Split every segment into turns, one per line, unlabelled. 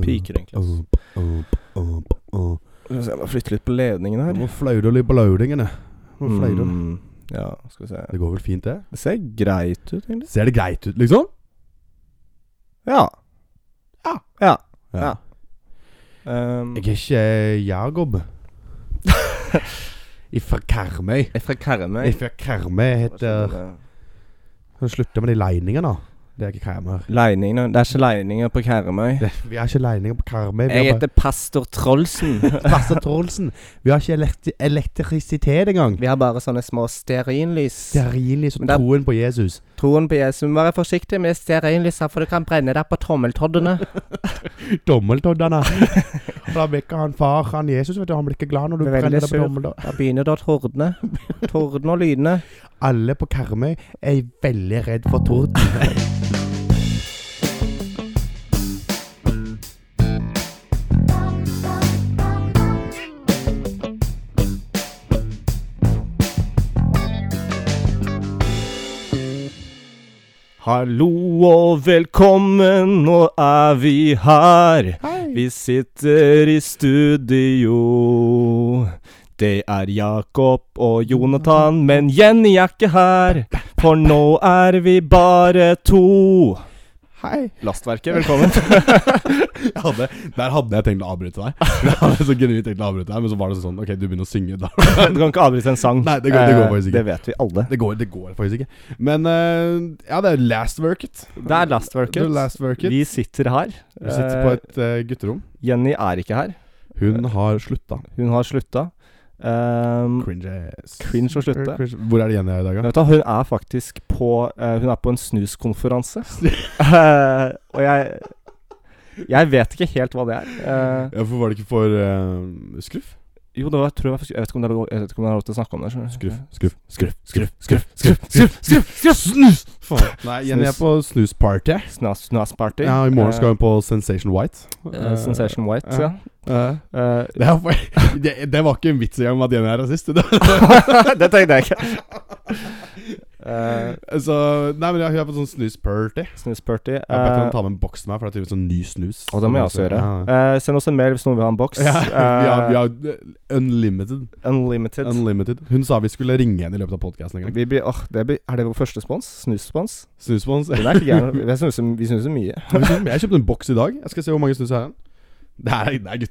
piker, egentlig.
Opp, opp, opp, opp.
Skal vi se, jeg må flytte litt på ledningen her.
Nå fløy du litt på laudingene. Nå fløy du.
Mm, ja, skal vi se.
Det går vel fint, det?
Det ser greit ut, egentlig.
Ser det greit ut, liksom?
Mm. Ja.
Ja.
Ja. Ja. Um,
Jeg er ikke Jagob. Ifra Karmøy.
jeg fra Karmøy.
Ifra Karmøy heter Kan du slutte med de leiningene, da? Det er ikke Karmøy.
Leiningene Det er ikke leininger på Karmøy.
Det, vi har ikke leininger på Karmøy. Vi
Jeg
har
heter pastor Trollsen.
bare Pastor Trollsen. Vi har ikke elektri elektrisitet engang.
Vi har bare sånne små stearinlys.
Stearinlys og
Men det er-
troen på Jesus.
Troen på Jesu. Vær forsiktig med stearinlysa, for du kan brenne deg på trommeltoddene.
Dommeltoddene. Og Da blir ikke han far, han Jesus, vet du. Han blir ikke glad når du
Blir veldig
brenner deg på
sur.
dommeltodd.
Da begynner det å tordne. Torden og lydene.
Alle på Karmøy er veldig redd for torden.
Hallo og velkommen, nå er vi her.
Hei.
Vi sitter i studio. Det er Jakob og Jonathan, men Jenny er ikke her. For nå er vi bare to.
Hei.
Lastverket, velkommen.
Jeg hadde, der hadde jeg tenkt å avbryte deg. Jeg hadde så genuint tenkt å avbryte deg Men så var det sånn Ok, du begynner å synge. Da.
Du kan ikke avbryte en sang.
Nei, det går- det går
Eh,
faktisk ikke.
Det vet vi alle.
Det, går, det går faktisk ikke. Men eh, ja, det er last work it.
Det er Lastverket.
The last work it.
Vi sitter her.
Vi sitter på
Eh,
et eh, gutterom.
Jenny er ikke her.
Hun har slutta.
Hun har slutta. Um,
Cringes.
cringe å slutte.
Eh, Hvor er det igjen jeg er i dag, da?
Vet du, hva, hun er faktisk på eh, Hun er på en snuskonferanse. Eh, og jeg Jeg vet ikke helt hva det er. Eh,
Ja, for var det ikke for eh, skruff?
jo, det var, tror jeg, faktisk- jeg vet ikke om det er lov, jeg vet ikke om det er lov til å snakke om det. skjønner du?
Skruff, skruff, skruff, skruff, skruff, skruff, skruff, skruff, skruff, snus! Faen. Nei, Jenny er på Eh. snusparty.
Snas, snasparty.
Ja, i morgen skal hun på Sensation White.
Eh, eh, Sensation White,
ja.
ja.
Eh,
Eh,
det, er for, det, det var ikke en vits engang om at Jenny er rasist. Det
det tenkte jeg ikke. Eh,
Så, nei, men jeg har hørt på sånn snusparty.
Snusparty.
Jeg har bedt henne
eh,
ta med en boks til meg, for det er tydeligvis sånn ny snus.
og det må jeg også gjøre.
Ja.
Eh, send oss en mail hvis noen vil ha en boks.
Ja, vi, har,
Eh,
vi har unlimited.
Unlimited.
unlimited. Hun sa vi skulle ringe henne i løpet av podkasten en gang.
Vi blir, åh, det blir, er det vår første spons? Snusspons?
Snusspons.
Den er ikke gæren. Vi snuser, vi snuser mye.
jeg kjøpte en boks i dag. Jeg skal se hvor mange snus jeg har igjen. Det er, det er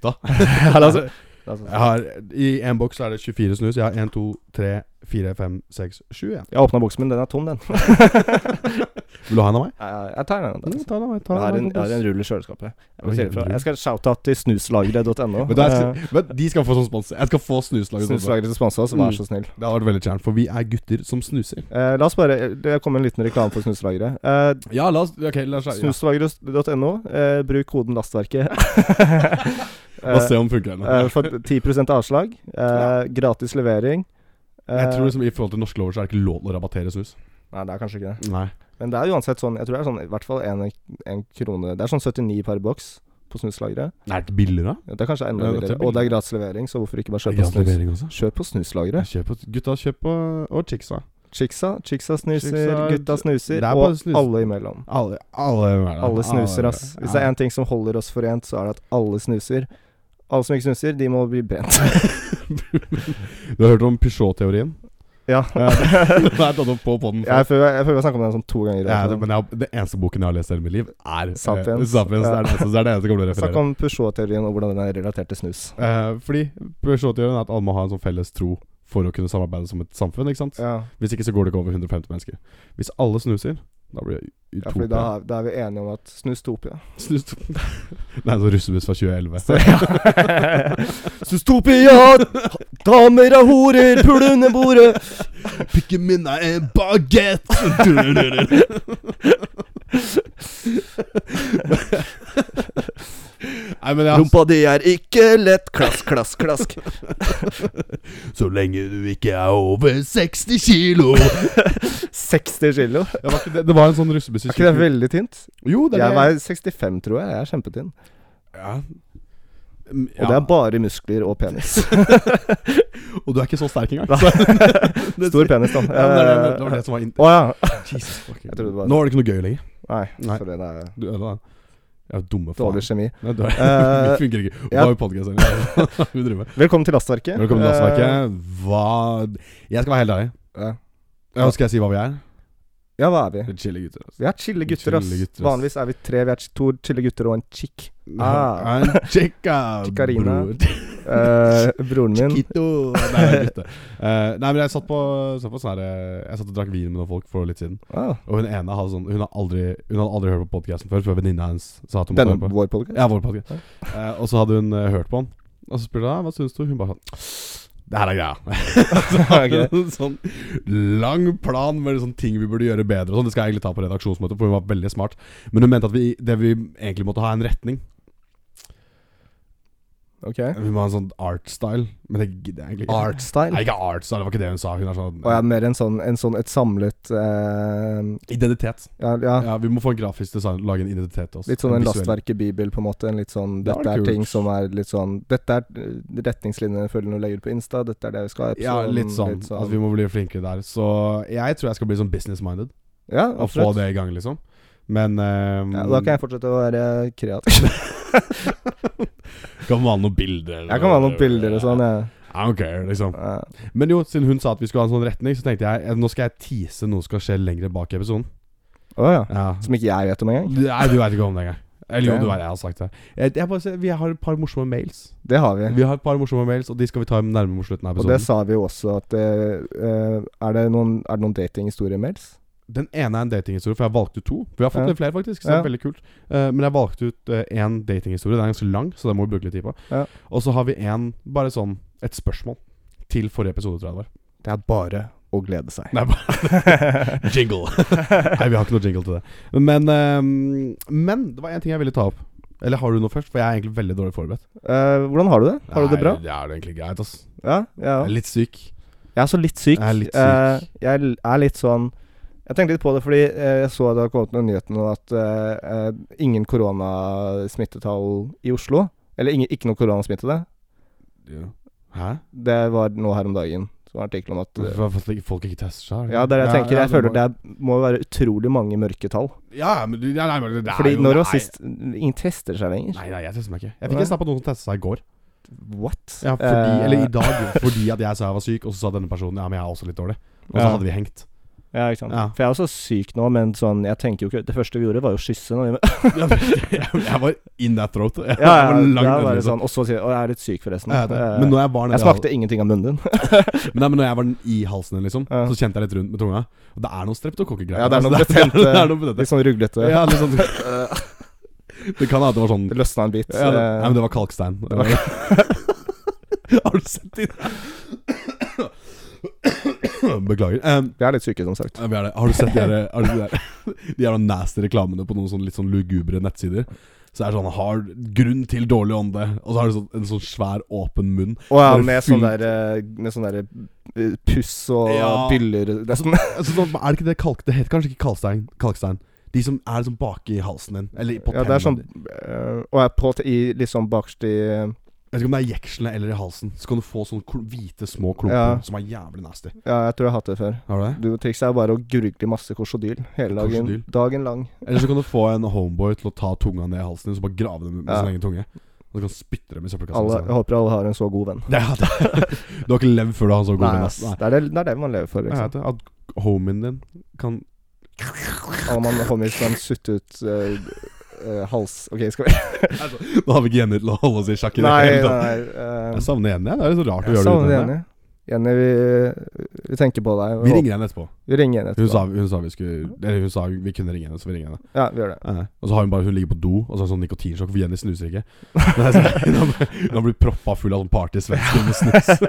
gutta.
altså-
jeg har, I en boks er det 24 snus. Jeg har 1, 2, 3, 4, 5, 6, 7 igjen.
Jeg åpna boksen min, den er tom, den.
Vil du ha en av meg?
Jeg, jeg tar den.
Mm,
Altså.
ta den av meg. Ta
Jeg
den
har
av
en,
meg
jeg har
boks.
en rull i kjøleskapet. Jeg,
Oi,
må si det fra.
en rull.
jeg skal shout-out til snuslageret.no.
men, da
Eh,
skal, men de skal få sånn spons. Jeg skal få snuslaget. sånn spons.
Snuslageret sponser oss, vær så snill.
Det hadde vært veldig kjært, for vi er gutter som snuser.
Eh, la oss bare Det kom en liten reklame for Snuslageret. Eh,
Ja, la oss Ok, la oss ja.
Snuslageret.no. Eh, bruk koden Lastverket.
La oss se om det funker ennå.
Eh, for 10 avslag. Eh, Gratis levering. Eh,
Jeg tror liksom I forhold til norske lover så er det ikke lov til å rabattere snus.
Nei, det er kanskje ikke det.
Nei
Men det er uansett sånn Jeg tror det er sånn i hvert fall en, en krone Det er sånn 79 per boks på snuslageret.
Er det ikke billigere?
Ja, Det er kanskje enda
Ja, det er
billigere. Og det er gratis levering, så hvorfor ikke bare kjøpe på snus?
også?
Kjøp på snuslageret.
Kjøp på, gutta, kjøp på Og chicksa.
Chicksa, chicksa snuser,
Chicksa-
gutta
Det
snuser,
er bare
og
snus.
alle imellom.
Alle, alle, er det.
Alle snuser,
er
ass. Hvis det er én ting som holder oss forent, så er det at alle snuser. Alle som ikke snuser, de må bli brent.
Du har hørt om Peugeot-teorien?
Ja.
Ja, det Den er tatt opp på podden
Jeg føler jeg, føler jeg har snakka om det sånn to ganger. i
Ja,
dag,
det,
sånn.
men jeg, har- det eneste boken jeg har lest i hele mitt liv, er eh,
Sapiens.
Sapiens. Det er det eneste, så er det eneste jeg kommer til å
Snakk
referere.
om Peugeot-teorien og hvordan den er relatert til snus.
Eh, fordi Peugeot-teorien er at alle må ha en sånn felles tro for å kunne samarbeide som et samfunn. ikke sant?
Ja,
Hvis ikke så går det ikke over 150 mennesker. Hvis alle snuser, da blir det
ja
utopia.
fordi da, er- da er vi enige om at snustopia
Snus Det er en sånn russebuss fra 2011.
Sustopia! Damer og horer, pul under bordet!
Pikken min er en bagett! Nei, men ja
Rumpa di er ikke lett. Klask, klask, klask.
Så lenge du ikke er over 60 kilo
60 kilo.
det, var ikke, det, det var en sånn russebuss i
Er ikke det
20
veldig tynt?
Jo, det er
Jeg
det.
veier 65, tror jeg. Jeg er kjempetynn.
Ja. Mm,
Og
ja.
det er bare muskler og penis.
og du er ikke så sterk engang.
Nei.
Så-
Stor penis,
Ja,
da.
men det, er det, det var det som var in
Å ja.
Jesus fucking
Jeg trodde det var-
Nå er det ikke noe gøy lenger.
Nei,
Nei.
sorry. Det er
Du ødela den. Ja, dumme faen.
Dårlig kjemi.
Nei, du er,
Eh,
det funker ikke. Hva
ja.
har vi podcast her? Vi driver med.
Velkommen til Lastverket.
Velkommen til Lastverket. Hva Jeg skal være helt ærlig.
Eh, ja.
Ja, skal jeg si hva vi er?
ja, hva er vi?
Chille gutter. altså.
Vi er chille gutter, ass.
Chille gutter, ass.
Vanligvis er vi tre. Vi er ch- to chille gutter og en chick. Ah.
En Chica,
Chicarina.
bror.
Eh, broren min
Chiquito. Nei, det er gutte. Eh, nei, men jeg satt på, satt på sånn her eh, Jeg satt og drakk vin med noen folk for litt siden.
ah,
Og hun ene hadde sånn Hun hadde aldri, hun hadde aldri hørt på podkasten før, før venninna hennes sa at hun måtte
Denne
høre på.
vår podcast
Ja, vår podcast. Eh, og så hadde hun eh, hørt på den. Og så spurte jeg henne, hva syns du Hun bare sånn Det her er greia. så har hun en sånn lang plan med sånn ting vi burde gjøre bedre. Og sånn. Det skal jeg egentlig ta på redaksjonsmøtet, for hun var veldig smart. Men hun mente at vi, det vi egentlig måtte ha, er en retning.
Ok.
Vi må ha en sånn art-style. Men det gidder jeg egentlig ikke.
Artstyle.
Nei, ikke art-style, det var ikke det hun sa. Hun er sånn
Og jeg er mer en sånn, en sånn et samlet eh,
Identitet.
ja, ja,
Ja, Vi må få en grafisk design, lage en identitet til oss.
Litt sånn en
visuell.
lastverket-bibel, på en måte. En litt sånn
Det var
Dette er
kult.
ting som er litt sånn Dette er eh, retningslinjene følgende legger ut på Insta, dette er det vi skal ha.
Ja, litt sånn. At vi må bli flinkere der. Så jeg tror jeg skal bli sånn business-minded.
Ja,
Å få
absolutt.
det i gang, liksom. Men ehm,
Ja, da kan jeg fortsette å være kreativ.
Kan male noen bilder. eller
Jeg kan være noen bilder og sånn, jeg.
I don't care, liksom.
Ja.
Men jo, siden hun sa at vi skulle ha en sånn retning, så tenkte jeg eh, nå skal jeg tease noe som skal skje lenger bak i episoden.
Å ja.
Ja.
Som ikke jeg vet om engang.
Nei, du veit ikke om det engang. Eller jo,
Damn.
du vet, jeg har sagt det. Jeg, jeg bare, ser- vi har et par morsomme mails.
Det har vi.
Vi har et par morsomme mails, og de skal vi ta nærmere mot slutten av
Og det
episoden.
sa vi jo også, at eh, eh, Er det noen, er det noen datinghistorie-mails?
Den ene er en datinghistorie, for jeg valgte ut to. For vi har fått
Ja.
litt flere, faktisk. Så det
Ja.
er veldig kult Eh, Men jeg valgte ut én datinghistorie. Den er ganske lang, så den må vi bruke litt tid på.
Ja.
Og så har vi en, bare sånn, et spørsmål til forrige episode, tror jeg det var.
Det er bare å glede seg.
Nei, bare Jingle. Nei, vi har ikke noe jingle til det. Men, ehm, men det var én ting jeg ville ta opp. Eller har du noe først? For jeg er egentlig veldig dårlig forberedt.
Eh, hvordan har du det? Har du det bra?
Nei, det er det egentlig greit, ass.
Ja, ja.
Jeg er litt syk.
Jeg er så litt syk.
Jeg er litt syk.
Eh, jeg l- er litt sånn Jeg tenkte litt på det fordi eh, jeg så det hadde kommet noen nyheter nå at eh, eh, ingen koronasmittetall i Oslo. Eller ingen, ikke noe koronasmittede.
Hæ?
Det var nå her om dagen. Så var det en artikkel om at eh,
Hvorfor at ikke- folk ikke tester seg?
Ja, det er det jeg tenker. Jeg
det
føler det er, må være utrolig mange mørketall.
må- Ja, men du- ja, nei, men det er
Fordi
jo- nei.
når var sist Ingen tester seg lenger.
Nei, nei, jeg tester meg ikke. Jeg
Nei.
fikk en snap på noen som testet seg i går.
What?
Ja, fordi,
Eh,
eller i dag, fordi at jeg sa jeg var syk, og så sa denne personen ja, men jeg er også litt dårlig. Og så
Ja.
hadde vi hengt.
Eh, Ja, ikke sant.
Ja.
For jeg er også syk nå, men sånn Jeg tenker jo ikke Det første vi gjorde, var jo å kysse. Når vi,
Jeg, jeg var in that throat. Jeg
ja, ja,
var langt
det er bare
under, liksom.
sånn Og så sier jeg «Å, jeg er litt syk, forresten.
Ja, det. Men
Eh,
når jeg var nede
jeg
i
smakte ingenting av munnen din.
hal- Men, nei, men når jeg var den i halsen din, liksom,
Ja.
så kjente jeg litt rundt med tunga. Og det er noen streptokokkegreier.
Ja, det er noe
Altså,
betente-
det er noe betente.
Litt sånn ruglete.
Ja, litt sånn Det kan hende at det var sånn
Det løsna en bit.
ja, det,
eh,
Nei, men det var kalkstein.
var-
Har du sett det? Beklager. Em,
Vi er litt syke, som sagt.
ja, vi er det. Har du sett de der, har du de der De jævla nasty reklamene på noen sånn litt sånn lugubre nettsider? Så er det sånn hard grunn til dårlig ånde, og så har du sånn, en sånn svær åpen munn.
Og ja,
Bare
med
fylt-
sånn der eh, Med sånn der eh, puss og
Ja.
byller nesten.
Altså, sånn, er det ikke det kalk... Det heter kanskje ikke kalkstein. kalkstein. De som er liksom bak i halsen din. Eller på
Ja, det er sånn
tennene.
eh, Og jeg er på i liksom bakst i eh,
Jeg vet ikke om det er i jekslene eller i halsen. Så kan du få sånne kl hvite små klumper
Ja.
som er jævlig nasty.
Ja, jeg tror jeg har hatt det før.
Har du det?
Du, Trikset er bare å gurgle masse korsodyl hele dagen.
Korsodyl?
Dagen lang.
Eller så kan du få en homeboy til å ta tunga ned i halsen din, så bare grave den med
Ja.
sin egen tunge. Og så kan du spytte dem i søppelkassa.
Alle, jeg håper alle har en så god venn.
det, er- det. Du har ikke levd før du har en så god
Nei,
venn. ass.
ass.
Nei.
Det, er det, det er det man lever for.
Jeg
Liksom.
vet det. At homien din kan
Alle man homies kan sutte ut eh, eh, hals Ok, skal vi
Da har vi ikke Jenny til å holde oss i sjakk i det
Nei, nei.
hele tatt.
eh,
Jeg savner Jenny. jeg. Det er litt så rart å
jeg
gjøre det
savner
uten henne.
Jenny. Jenny, vi, vi tenker på deg.
Vi ringer henne etterpå.
Vi ringer henne
Hun
etterpå.
sa, hun sa vi skulle Eller hun sa vi kunne ringe henne, så vi ringer henne.
Ja, vi gjør det.
Eh, Og så har hun bare Hun ligger på do, og så har hun sånn nikotinsjokk, for Jenny snuser ikke. Nei, så, sånn- hun, har, hun har blitt proppa full av sånn partysvensk med snus. så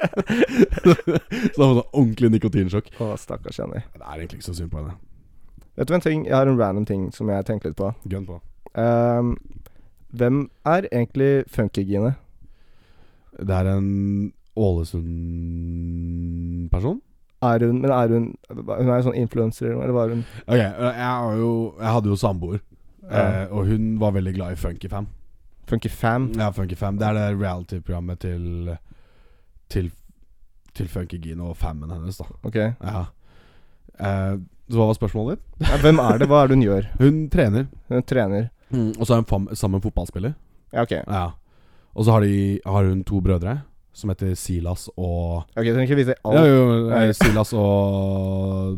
da har hun sånn ordentlig nikotinsjokk.
Å, stakkars Jenny.
Det er egentlig ikke så synd på henne.
Vet du en ting? Jeg har en random ting som jeg tenkte litt på.
Gun på.
Ehm, hvem er egentlig funkygine?
Det er en Ålesund-person.
Er hun Men er hun Hun er jo sånn influenser, eller var hun
Ok, eh, jeg, har jo, jeg hadde jo samboer, eh,
Ja.
og hun var veldig glad i Funkyfam.
funkyfam?
Ja, Funkyfam. Det er det reality-programmet til Til, til Funkygine og fammen hennes, da.
Ok. Ja,
Ja. Eh, så hva var spørsmålet ditt?
hvem er det? Hva er det hun gjør?
Hun trener.
Hun trener.
Mm, og så er hun fam sammen med en fotballspiller.
Ja, ok.
Ja. Og så har, de, har hun to brødre som heter Silas og
Ok, Du trenger ikke vise
ja,
alt.
jo, eh, Silas og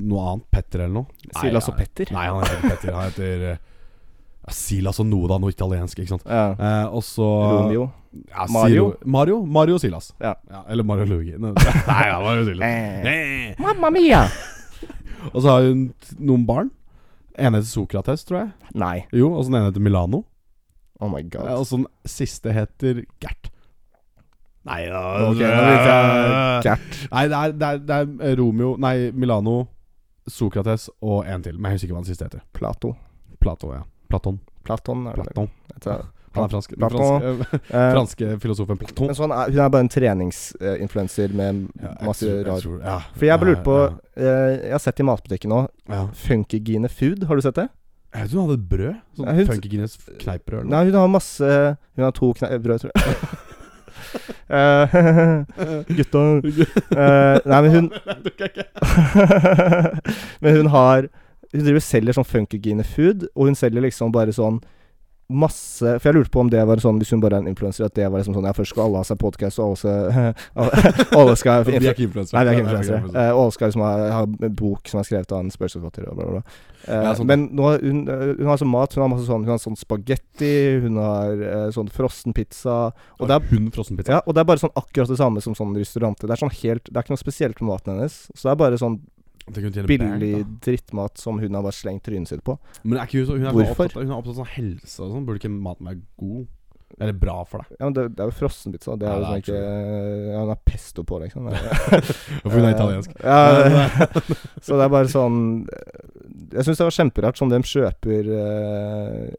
noe annet. Petter eller noe. Nei,
Silas
ja.
og Petter.
Nei, han heter ikke Petter. Han heter eh, ja, Silas og noe, da. Noe italiensk, ikke sant.
Ja.
Eh, og så
Romeo.
Ja,
Mario.
Mario. Mario. Mario og Silas.
Ja.
eller Mario og Luigi. Nei, ja, Mario og Silas.
Eh.
Eh.
Mamma mia!
Og så har hun t- noen barn. En heter Sokrates, tror jeg.
Nei.
Jo, og så den ene heter Milano.
Oh my
Ja,
god.
og så den siste heter Gert. Nei da
Ok, da vet jeg Gert.
Nei, det er, det, er, det er Romeo Nei, Milano, Sokrates og en til. Men jeg husker ikke hva den siste heter.
Plato.
Plato, ja. Platon.
Platon. er det vel?
Platon.
Jeg vet ikke.
Han er fransk. Den
Platon.
franske,
Eh,
franske filosofen Platon.
Men så han er, hun er bare en treningsinfluenser med
Ja, jeg
masse
tror- jeg
rar
tror- ja.
For jeg bare lurte på
Ja,
eh, Jeg har sett i matbutikken nå
ja, ja.
Funkygine Food, har du sett det?
Jeg tror hun hadde et brød.
Ja,
Sånn
hun-
funkygines kneippbrød. eller noe.
Nei, hun har masse Hun har to kne brød, tror jeg. Eh, Gutta Eh, Nei, men hun Men hun har Hun driver og selger sånn funkygine food, og hun selger liksom bare sånn Masse For jeg lurte på om det var sånn, hvis hun bare er en influenser, at det var liksom sånn Ja, først skal alle ha seg podkast, og alle skal Alle skal
Vi er ikke influensere.
Nei, vi er ikke
Nei, vi
influensere. Eh, og Oskar liksom har, har en bok som er skrevet av en spøkelsesforfatter og bla, bla, bla. Eh,
Ja, sånn.
Men nå, har hun, eh, hun har sånn mat. Hun har masse sånn Hun har sånn spagetti, hun har eh, sånn frossen pizza. Og det, er,
hun frossenpizza.
ja, og det er bare sånn akkurat det samme som sånn restaurant. Det er sånn helt Det er ikke noe spesielt med maten hennes. Så det er bare sånn
Det kunne tjene penger,
billig
da.
drittmat som hun har bare slengt trynet sitt på.
Men er ikke hun, så- hun er
Hvorfor?
Hvorfor? Opptatt, av- hun er opptatt av sånn helse og sånn. Burde ikke maten være god? Eller bra for deg?
Ja, men det, det er jo frossenpizza. Det er
Ja,
jo sånn
det er
ikke ja, Hun har pesto på, liksom. Det er-
For hun er italiensk.
Eh, Ja, så det er bare sånn eh, Jeg syns det var kjemperart sånn hvem kjøper uh,
Jeg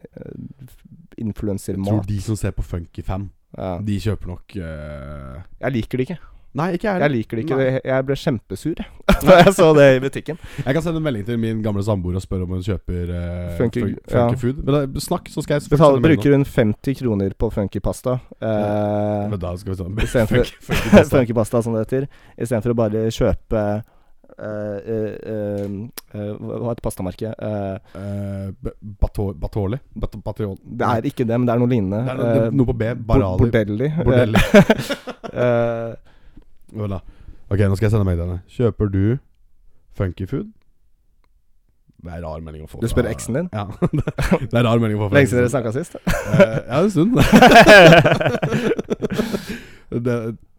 tror
influensermat.
de som ser på Funky5,
Ja.
de kjøper nok eh,
Jeg liker det ikke.
Nei, ikke jeg
Jeg
heller.
liker det ikke
Nei.
Jeg- Jeg ble kjempesur jeg, da jeg så det i butikken.
Jeg kan sende en melding til min gamle samboer og spørre om hun kjøper eh,
Funky-
fun-
ja.
funky food. Men da, snakk, så skal jeg selvfølgelig
Betaler,
sende melding
bruker hun 50 kroner på funky pasta.
nå.
Uh,
Men da skal vi sånn
Istedenfor-
funky, funky pasta.
funky pasta, som det heter. Istedenfor å bare kjøpe eh, eh, eh, Hva hva heter pastamerket? Eh,
Eh, b- bato- Batoli? Bat batiol.
det er ikke det, men det er noe lignende.
Det er noe, det
Eh,
er noe på B.
bo-
Barali.
Bordelli. Eh,
Bordelli.
eh,
Hva da? Ok, nå skal jeg sende melding til henne. Kjøper du funky food? Det er rar melding å få.
Du spør
fra-
eksen din?
Ja. Det er rar melding å få. fra
Lenge siden dere
eksen.
snakka sist.
Eh, Ja, en stund. det,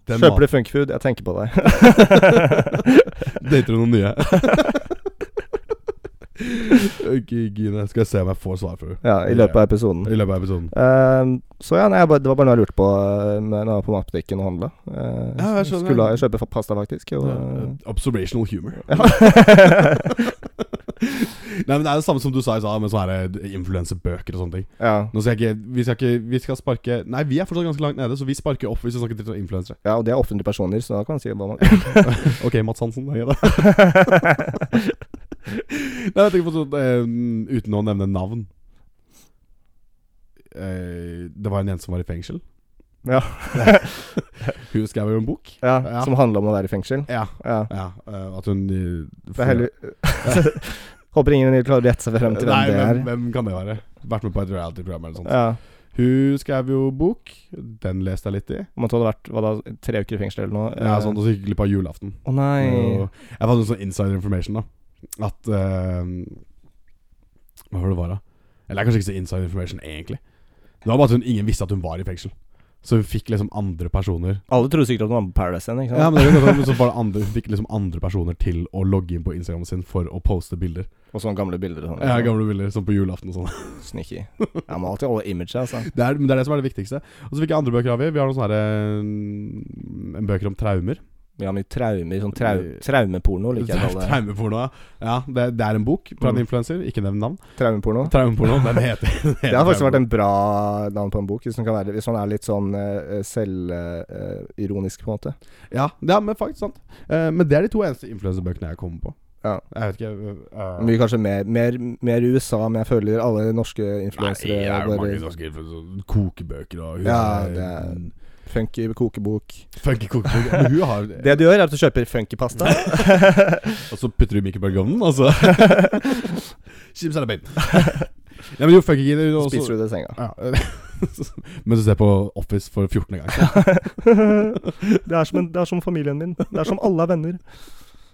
den
Kjøper
mat-
du funkfood? Jeg tenker på deg.
Dater du noen nye? Ok, Gine, skal jeg se om jeg får svar fra henne
ja, i løpet av episoden.
i løpet av episoden.
Ehm, så ja, nei, jeg bare, det var bare noe jeg lurte på eh, når jeg var på matbutikken og handla.
Ja, jeg skjønner.
skulle ha- jeg kjøpe fa- pasta, faktisk. Og,
Eh, Observational humor.
Ja.
Nei, men Det er det samme som du sa i stad, med sånne her influensebøker og sånne ting.
ja.
Nå skal jeg ikke, vi skal ikke Vi skal sparke Nei, vi er fortsatt ganske langt nede, så vi sparker opp hvis vi snakker til influensere.
ja, og det er offentlige personer, så da kan man si hva man vil.
Ok, Mats Hansen. Da, da. Nei, jeg tenker på sånn eh, Uten å nevne navn. Eh, det var en jente som var i fengsel.
Ja.
hun skrev jo en bok.
ja,
Ja.
som handla om å være i fengsel.
Ja.
Ja.
ja eh, at hun eh,
Det er heldig. Håper ingen klarer å gjette seg frem til hvem
Nei,
det er.
Hvem, hvem kan det være? Vært med på et reality-program eller noe sånt.
Ja,
Hun skrev jo bok. Den leste jeg litt i.
Om at det hadde vært hva da, tre uker i fengsel eller noe.
Ja,
eh,
sånn, Og så gikk jeg glipp av julaften.
Å nei.
Og Jeg fant en sånn insider information da At eh, Hva var det det var da? Eller det er kanskje ikke så insider information egentlig Det var bare at hun, ingen visste at hun var i fengsel Så hun fikk liksom andre personer
Alle trodde sikkert at hun var med på Paradise igjen, ikke sant?
Ja, men det er jo noe sånn, så var det andre Hun fikk liksom andre personer til å logge inn på Instagram sin For å poste bilder
Og sånne gamle bilder og sånn.
Ja, gamle bilder, sånn på julaften og sånn
Sneaky. Ja, må alltid holde imaget, altså.
det er, men det er det som er det viktigste Og så fikk jeg andre bøker av i Vi har noen sånne her eh, En bøker om traumer
Vi har mye traumer, sånn trau traumeporno, liker jeg å kalle det.
Traumeporno, ja Ja, det, det er en bok Fra en
Mm.
influencer Ikke nevn navn
Traumeporno.
Traumeporno, den heter den
Det
heter
har faktisk
traumeporno.
vært en bra navn på en bok, hvis man, kan være, hvis man er litt sånn selvironisk, på en måte.
Ja, ja men faktisk sant. Eh, men det er de to eneste influenserbøkene jeg kommer på.
Ja.
Jeg vet ikke eh,
Mye kanskje mer, mer, mer USA, men jeg føler alle norske
Nei, det
influensere
er jo mange
bare
norske influensere. Kokebøker og hun
Ja,
er-
det er- funky kokebok.
Funky kokebøker. Men hun har
Det du gjør, er at du kjøper funky pasta.
altså. Og så putter du i mikrobølgeovnen, og så Chips eller bacon. Nei, men jo, fuck ikke det, også-
Spiser du det i senga?
Ja. Mens du ser på Office for 14. gang.
det, er som en, det er som familien min. Det er som alle er venner.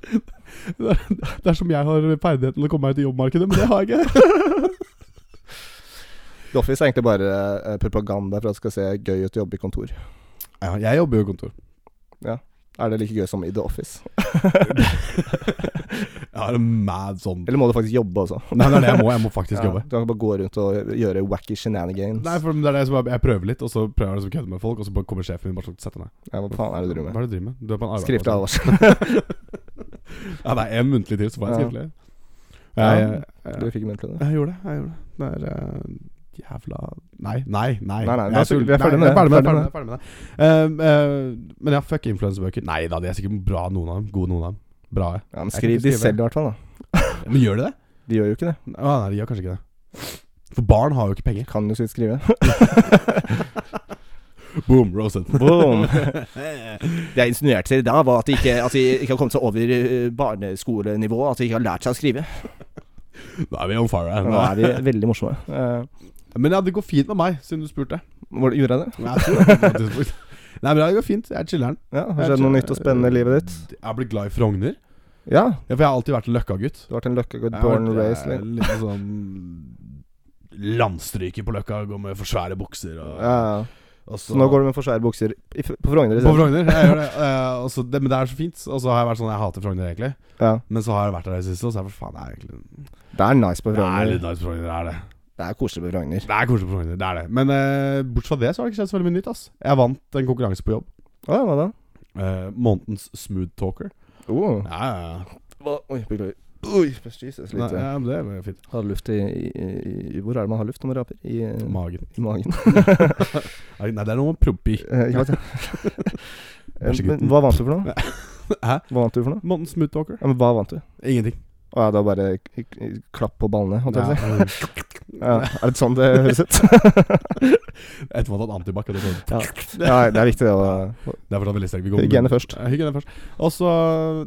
Det er som jeg har ferdigheten til å komme meg ut i jobbmarkedet, men det har jeg ikke.
The Office er egentlig bare eh, propaganda for at det skal se gøy ut å jobbe i kontor.
Ja, jeg jobber jo i kontor.
Er det like gøy som i The Office?
Jeg har en mad sånn
Eller må du faktisk jobbe også?
Nei, det er det jeg må. Jeg må faktisk
Ja,
jobbe.
Du kan ikke bare gå rundt og gjøre wacky shenanigans.
Nei, for det er det som er, Jeg prøver litt, og så prøver jeg liksom å kødde med folk, og så bare kommer sjefen min bare sånn Sett deg ned.
Ja, hva faen er det du driver
Hva
med?
er det du driver med? Du er på en
Skriftlig
arbeidsplass.
advarsel.
Ja, det er én muntlig til, så får jeg
Ja.
skriftlig.
Ja,
Jeg, jeg,
Du
jeg,
fikk muntlig det.
gjorde det. Jeg gjorde det. Det er eh, jævla Nei, nei, nei.
Nei, nei,
Jeg
da så-
tuller.
vi er ferdig
Nei, jeg er
med det.
Ferdig med det. Ferdig med det. Ferdig med det. Eh, eh, men ja, fuck influensebøker. Nei da, de er sikkert bra, noen av dem. Gode, noen av dem. Bra, ja.
Ja,
Jeg kan
men
ikke
skriv de
skrive.
selv i hvert fall, da.
Men gjør de det?
De gjør jo ikke det.
Å, nei, de gjør kanskje ikke det. For barn har jo ikke penger.
Kan jo sikkert skrive.
Boom, roasted.
Boom! Det jeg insinuerte til da, var at de ikke, har kommet seg over eh, barneskolenivå. At de ikke har lært seg å skrive.
Nå er vi on fire her.
Nå er de veldig morsomme. Eh,
Men ja, det går fint med meg, siden du spurte.
hvor- gjorde jeg det?
Nei, jeg tror det var på et tidspunkt. Nei, men ja, det går fint. Jeg er chiller'n.
Ja, Har det skjedd noe nytt og spennende i livet ditt?
Jeg har blitt glad i Frogner.
Ja.
Ja, for jeg har alltid vært en løkkagutt.
Du har vært en løkkegodt
Jeg har
born
vært, eh,
raised liksom.
Litt sånn landstryker på løkka, går med for svære bukser og,
Ja, ja.
og
Så nå går du med for svære bukser i, f- på Frogner
på
isteden?
Frogner. Jeg gjør det. eh, og så det. Men det er så fint. Og så har jeg vært sånn Jeg hater Frogner, egentlig.
Ja.
Men så har jeg vært der i det siste, og så er jeg for faen, det er egentlig
Det er nice på
Det er
Frogner.
litt nice på Frogner, det er det.
Det er koselig på Frogner.
Det er koselig på Frogner, det er det. Men eh, bortsett fra det, så har det ikke skjedd så veldig mye nytt, ass. Jeg vant en konkurranse på jobb.
Å, hva da?
Eh, månedens smooth talker.
Oh.
Ja, ja, ja.
Hva? Oi, beklager. Oi, Jesus,
Nei,
litt eh,
ja men det var jo fint.
Har luft i, i, i Hvor er det man har luft når man raper? I, eh,
Magen.
i magen.
Nei, det er noe man promper i.
Eh, ja, ja. Eh,
Bæsjegutten.
men hva vant du for noe?
Hæ?
Hva vant du for noe?
Månedens smooth talker?
Ja, men hva vant du?
Ingenting.
Å ja, det var bare k- k- klapp på ballene, holdt jeg på å si.
Nei, eh,
Ja, er det sånn det høres ut?
Etter man har tatt antibac. og det er sånn.
ja. ja, det er viktig, det. å- å-
Det er fortsatt veldig sterkt. Vi går med-
Hygiene først.
Ja, Hygiene først. Og så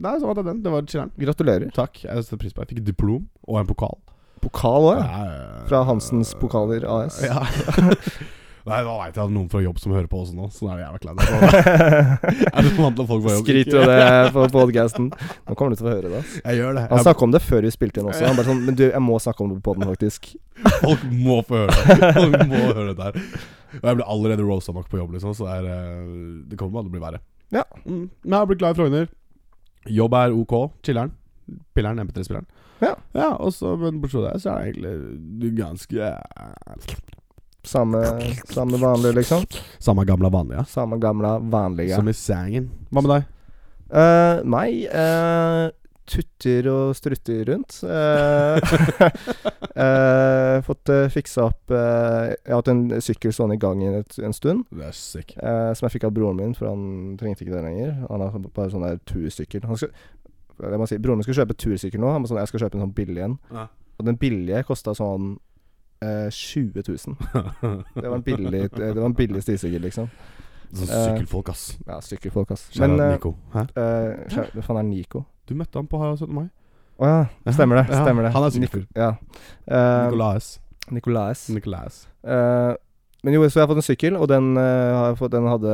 Nei, så vant jeg den. Det var chiller'n.
Gratulerer.
Takk. Jeg setter pris på det. Jeg fikk et diplom og en pokal.
Pokal òg, ja.
Ja, ja.
Fra Hansens Pokaler AS.
Ja. Nei, da veit jeg at noen fra jobb som hører på også nå. Sånn er det jævla kleint. Er du vant til at folk fra jobb
Skryter jo det på podcasten. Nå kommer du til å få høre det. ass.
Jeg gjør det.
Han
Jeg,
snakka om det før vi spilte inn også. Han bare sånn Men du, jeg må snakke om det på poden, faktisk.
folk må få høre det. Folk må høre dette her. Og jeg ble allerede roasta nok på jobb, liksom, så det, er, eh, det kommer bare til å bli verre.
Ja.
Mm. Men jeg har blitt glad i Frogner. Jobb er ok. Chiller'n. Pilleren, MP3-spilleren.
Ja.
ja og så, men bortsett fra det, så er det egentlig ganske
Samme, samme vanlige, liksom.
Samme gamle vanlige.
Samme gamle, vanlige.
Som i sangen. Hva med deg?
Eh, meg eh, tutter og strutter rundt. Eh, eh, fått eh, fiksa opp eh, Jeg har hatt en sykkel stående i gangen et, en stund,
Det er sick.
eh, som jeg fikk av broren min, for han trengte ikke det lenger. Han har bare sånn der tursykkel. Han skal, jeg må si, broren min skulle kjøpe tursykkel nå. Han var sånn, jeg skal kjøpe en sånn billig en.
Ja.
Og den billige kosta sånn eh, 20 000. Det var en billig, det var en billig stisykkel, liksom.
Sånn
Eh,
sykkelfolk, ass.
Ja, sykkelfolk, ass.
Men,
Men eh,
Nico. Hæ?
eh, kjære- Hva faen er Nico?
Du møtte han på 17. mai.
Å ja, stemmer det.
Ja,
stemmer det
han er
Nik-
sykkelfyr.
Ja. Eh,
Nikolaes.
Nikolaes.
Nikolaes.
Eh, men jo, så jeg har fått en sykkel, og den, eh, har jeg fått, den hadde,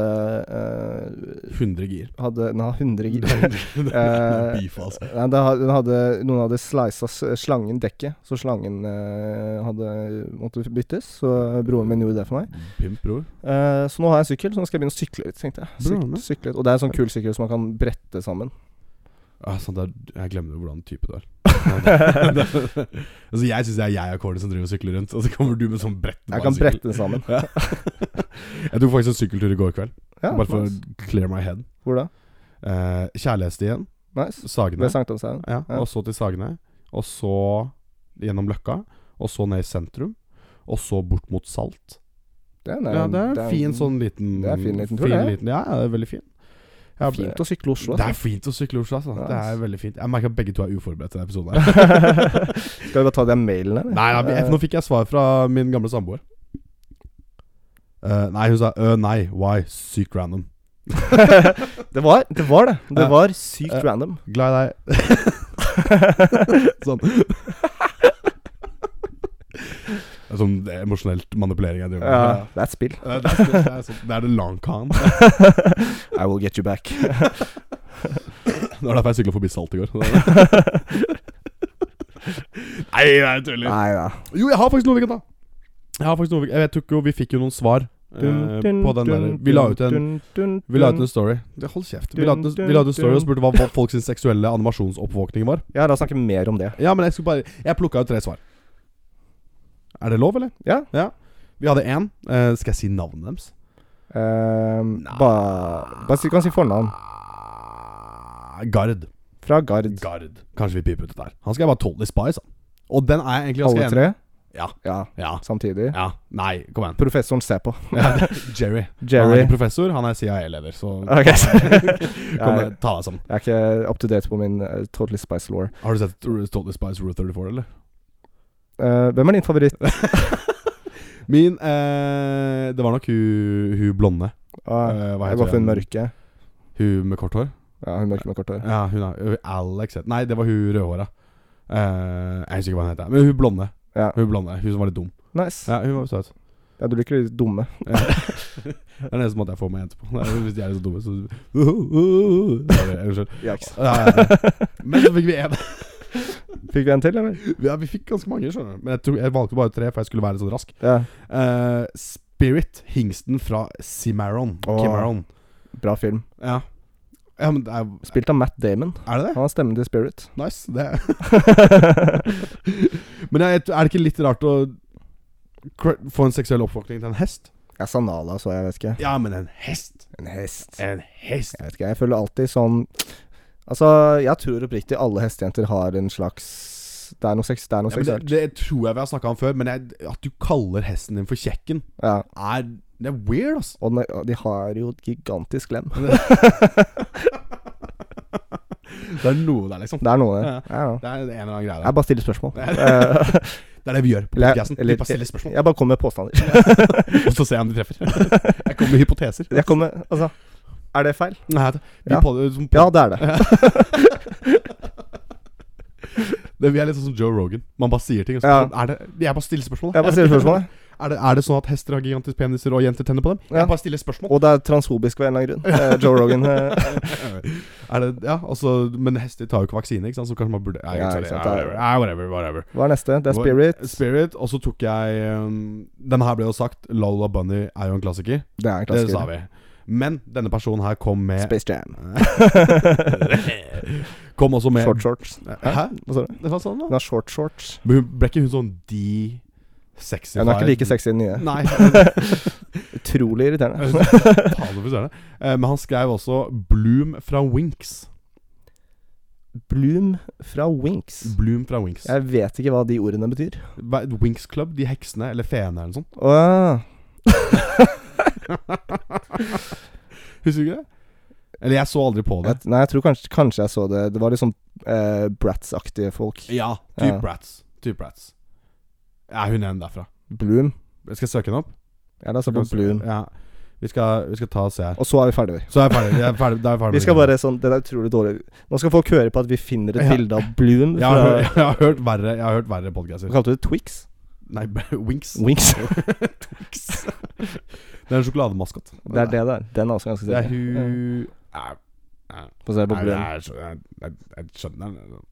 eh,
100 gir.
hadde Den har 100 gir. Eh,
Beef, altså.
Nei, den hadde, den hadde, noen hadde slisa slangen dekket, så slangen eh, hadde måtte byttes. Så broren min gjorde det for meg.
Pimp, bror.
Eh, så nå har jeg en sykkel, så nå skal jeg begynne å sykle litt, tenkte jeg. Syk,
Broren min?
sykle litt. Og det er en sånn kul sykkel som man kan brette sammen.
Ah, sant, det er, jeg glemmer jo hvordan type du er. altså, jeg syns jeg, jeg er Kåre som driver og sykler rundt, og så kommer du med sånn brett. på en
Jeg kan
sykkel.
brette den sammen.
Ja. jeg tok faktisk en sykkeltur i går kveld,
Ja,
bare for
nice.
å clear my head.
Hvor da?
Eh, Kjærlighetsstien,
Nice.
Sagene,
Ved Sankthanshaugen.
ja,
ja.
og så til Sagene, og så gjennom Løkka, og så ned i sentrum, og så bort mot Salt.
Det er
ja,
en-
det er en
det er
fin sånn liten
det er en fin liten tur,
fin
det.
liten- Ja, ja, det er veldig fin. Jeg ble-
Fint å sykle Oslo.
Det er fint å sykle i Oslo, altså.
Ja,
Det
ass.
er veldig fint. Jeg merker at begge to er uforberedt til denne episoden. her
Skal vi bare ta den mailen, eller?
Nei, nei, jeg- nå fikk jeg svar fra min gamle samboer. Eh, nei, hun sa øh, nei, why? Sykt random.
det, var, det var det. Det
Ja.
var sykt
Ja.
random.
Glad i deg. sånn. Sånn det er emosjonelt manipulering jeg driver med.
Ja, det er et spill.
Ja. Det, er, det, er, sånn- det er det lang kan. Det
I will get you back.
var derfor jeg sykla forbi Salt i går. Nei, det er tuller.
Nei da.
Jo, jeg har faktisk noe vi kan ta. Jeg har faktisk noe vi, Jeg vet jo ikke, vi fikk jo noen svar eh, på den der Vi la ut en vi la ut en story. Det- Hold kjeft. Vi la ut en, vi la ut en story og spurte hva hva folk sin seksuelle animasjonsoppvåkning var.
Ja, la oss snakke mer om det.
Ja, men jeg skulle bare Jeg plukka ut tre svar. Er det lov, eller?
Ja.
Vi hadde én. Eh, skal jeg si navnet deres?
Ehm, ba, bare si, kan si fornavn.
Ah, Gard.
Fra Gard.
Gard. Kanskje vi piper ut dette her. Han skal jeg bare tåle i Spice, han. Og den er jeg egentlig ganske
Alle
enig i.
tre?
Ja.
ja.
Ja.
Samtidig.
ja. Nei, kom igjen.
Professoren ser på.
Ja, det- Jerry. Han er
Jerry.
ikke professor, han er CIA-leder, så
Ok,
kom,
Jeg,
igjen, ta deg sammen.
jeg er ikke up to date på min eh, Totally Spice Law.
Har du sett Totally Spice Route 34, eller?
Eh, hvem er din favoritt?
Min eh, Det var nok hun, hun blonde.
Ah,
Eh, hva
jeg går for hun
hun?
mørke.
Hun med kort hår?
Ja, hun mørke med kort hår.
Ja, hun er hun- Alex het Nei, det var hun rødhåra. Eh, jeg husker ikke hva hun heter. Men hun blonde.
Ja.
Hun blonde, hun som var litt dum.
Nice.
Ja, hun var søt.
Ja, du liker de dumme.
Ja. det er den eneste måten jeg får meg jenter på. Det er Hvis de er så dumme, så Sorry, Unnskyld.
Yikes.
Ja, ja, ja. Men så fikk vi en
Fikk vi en til, eller?
Ja, vi fikk ganske mange, skjønner du. Men jeg, tror, jeg valgte bare tre, for jeg skulle være litt sånn rask.
Ja.
Eh, Spirit Hingsten fra Cimarron.
Åh.
Cimarron.
Bra film.
Ja. ja, men det er,
Spilt av Matt Damon.
er det det?
Han har stemmen til Spirit.
Nice. Det. men jeg, er det ikke litt rart å cr- få en seksuell oppvåkning til en hest?
Jeg sa Nala, så jeg vet ikke.
Ja, men en hest!
En hest.
En hest!
Jeg vet ikke, jeg føler alltid sånn Altså, jeg tror oppriktig alle hestejenter har en slags Det er noe sex, det er noe
Ja, men det,
seksuelt.
det tror jeg vi har snakka om før, men jeg, at du kaller hesten din for kjekken,
Ja.
er, det er weird, altså.
Og den er- og de har jo et gigantisk lem.
Det er noe der, liksom.
Det er noe
Ja.
der. Ja, ja.
Det er en eller annen greie der.
Jeg bare stiller spørsmål.
Ja.
Eh,
Det er det vi gjør på
Eller-
podcasten. Vi
eller-
bare stiller spørsmål,
Jeg bare kommer med påstander.
og så ser jeg om de treffer. Jeg kommer med hypoteser.
Jeg kommer Altså, er det feil?
Nei, det- vi
Ja.
pod- som pod-
Ja, det er det.
det, vi er litt sånn som Joe Rogan. Man bare sier ting. Og så,
Ja.
er det, jeg bare stiller spørsmål. da.
Jeg bare stiller spørsmål. jeg.
Er det, er det sånn at hester har gigantiske peniser og jenter tenner på dem?
Ja.
Jeg bare stiller spørsmål.
Og det er transfobisk ved en eller annen grunn. Eh, Joe Rogan. eh,
er det, ja, altså, men hester tar jo ikke vaksine, ikke sant? så kanskje man burde Nei,
Ja,
sorry.
ikke sant,
Nei,
det er-
Whatever, Nei, whatever, whatever.
Hva er neste? Det er Spirit.
Spirit, Og så tok jeg um, Denne her ble jo sagt. Lola Bunny er jo en klassiker.
Det er en
Det sa vi.
klassiker.
Men denne personen her kom med
Space Jam.
Kom også med
Short shorts.
Hæ?
Hva sa du?
Hva sa du nå?
Den har short shorts.
Men hun- Ble ikke hun sånn de sexy
Ja, den er ikke like sexy i den nye.
Nei.
Utrolig irriterende.
Fader, for søren. Eh, Men han skrev også 'Bloom fra Winks'.
Bloom fra Winks.
Bloom fra Winks.
Jeg vet ikke hva de ordene betyr.
Hva- Winks Club, de heksene eller feene eller noe sånt.
Åh,
Husker du ikke det? Eller jeg så aldri på det.
jeg, nei, jeg tror kanskje, kanskje jeg så det. Det var litt sånn eh, Brats-aktige folk.
Ja, typ
Ja.
Brats. Typ Brats. Ja, hun er en derfra.
Bloom.
Jeg skal søke henne opp.
Ja, det er sånn på Bloom.
Ja. Vi skal, vi skal ta og se her.
Og så er vi ferdige.
Så er jeg ferdig. Jeg er ferdig, da er jeg ferdig
Vi skal bare sånn Det er utrolig dårlig. Nå skal folk høre på at vi finner et
Ja.
bilde av Bloom.
jeg har,
Fra,
hørt, jeg har hørt verre Jeg har hørt verre
Hva
podcaster.
kalte du det? Twix?
Nei, Winks.
Winx.
Twix. det er en sjokolademaskot.
Det er det det er. Den er også ganske
Det er
sikker. Ja.
hun Nei,
Få se på
nei,
Bloom.
jeg skjønner- jeg- jeg- Jeg skjønner den.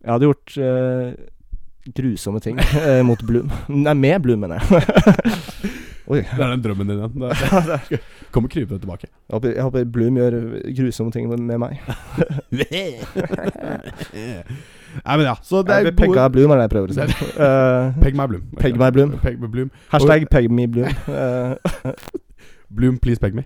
Jeg hadde gjort eh, grusomme ting eh, mot Bloom. Nei, med Bloom, mener jeg. Oi.
Det er den drømmen din igjen. Det- Kommer krypende tilbake.
Jeg håper, jeg håper Bloom gjør grusomme ting med, med meg.
Nei, men ja. Så det
Jeg
er
blir pegga av Bloom, er det jeg prøver å si. Eh,
Peg meg Bloom.
Peg meg Bloom.
Peg meg Bloom.
hashtag peg me Bloom. eh,
Bloom, please peg me.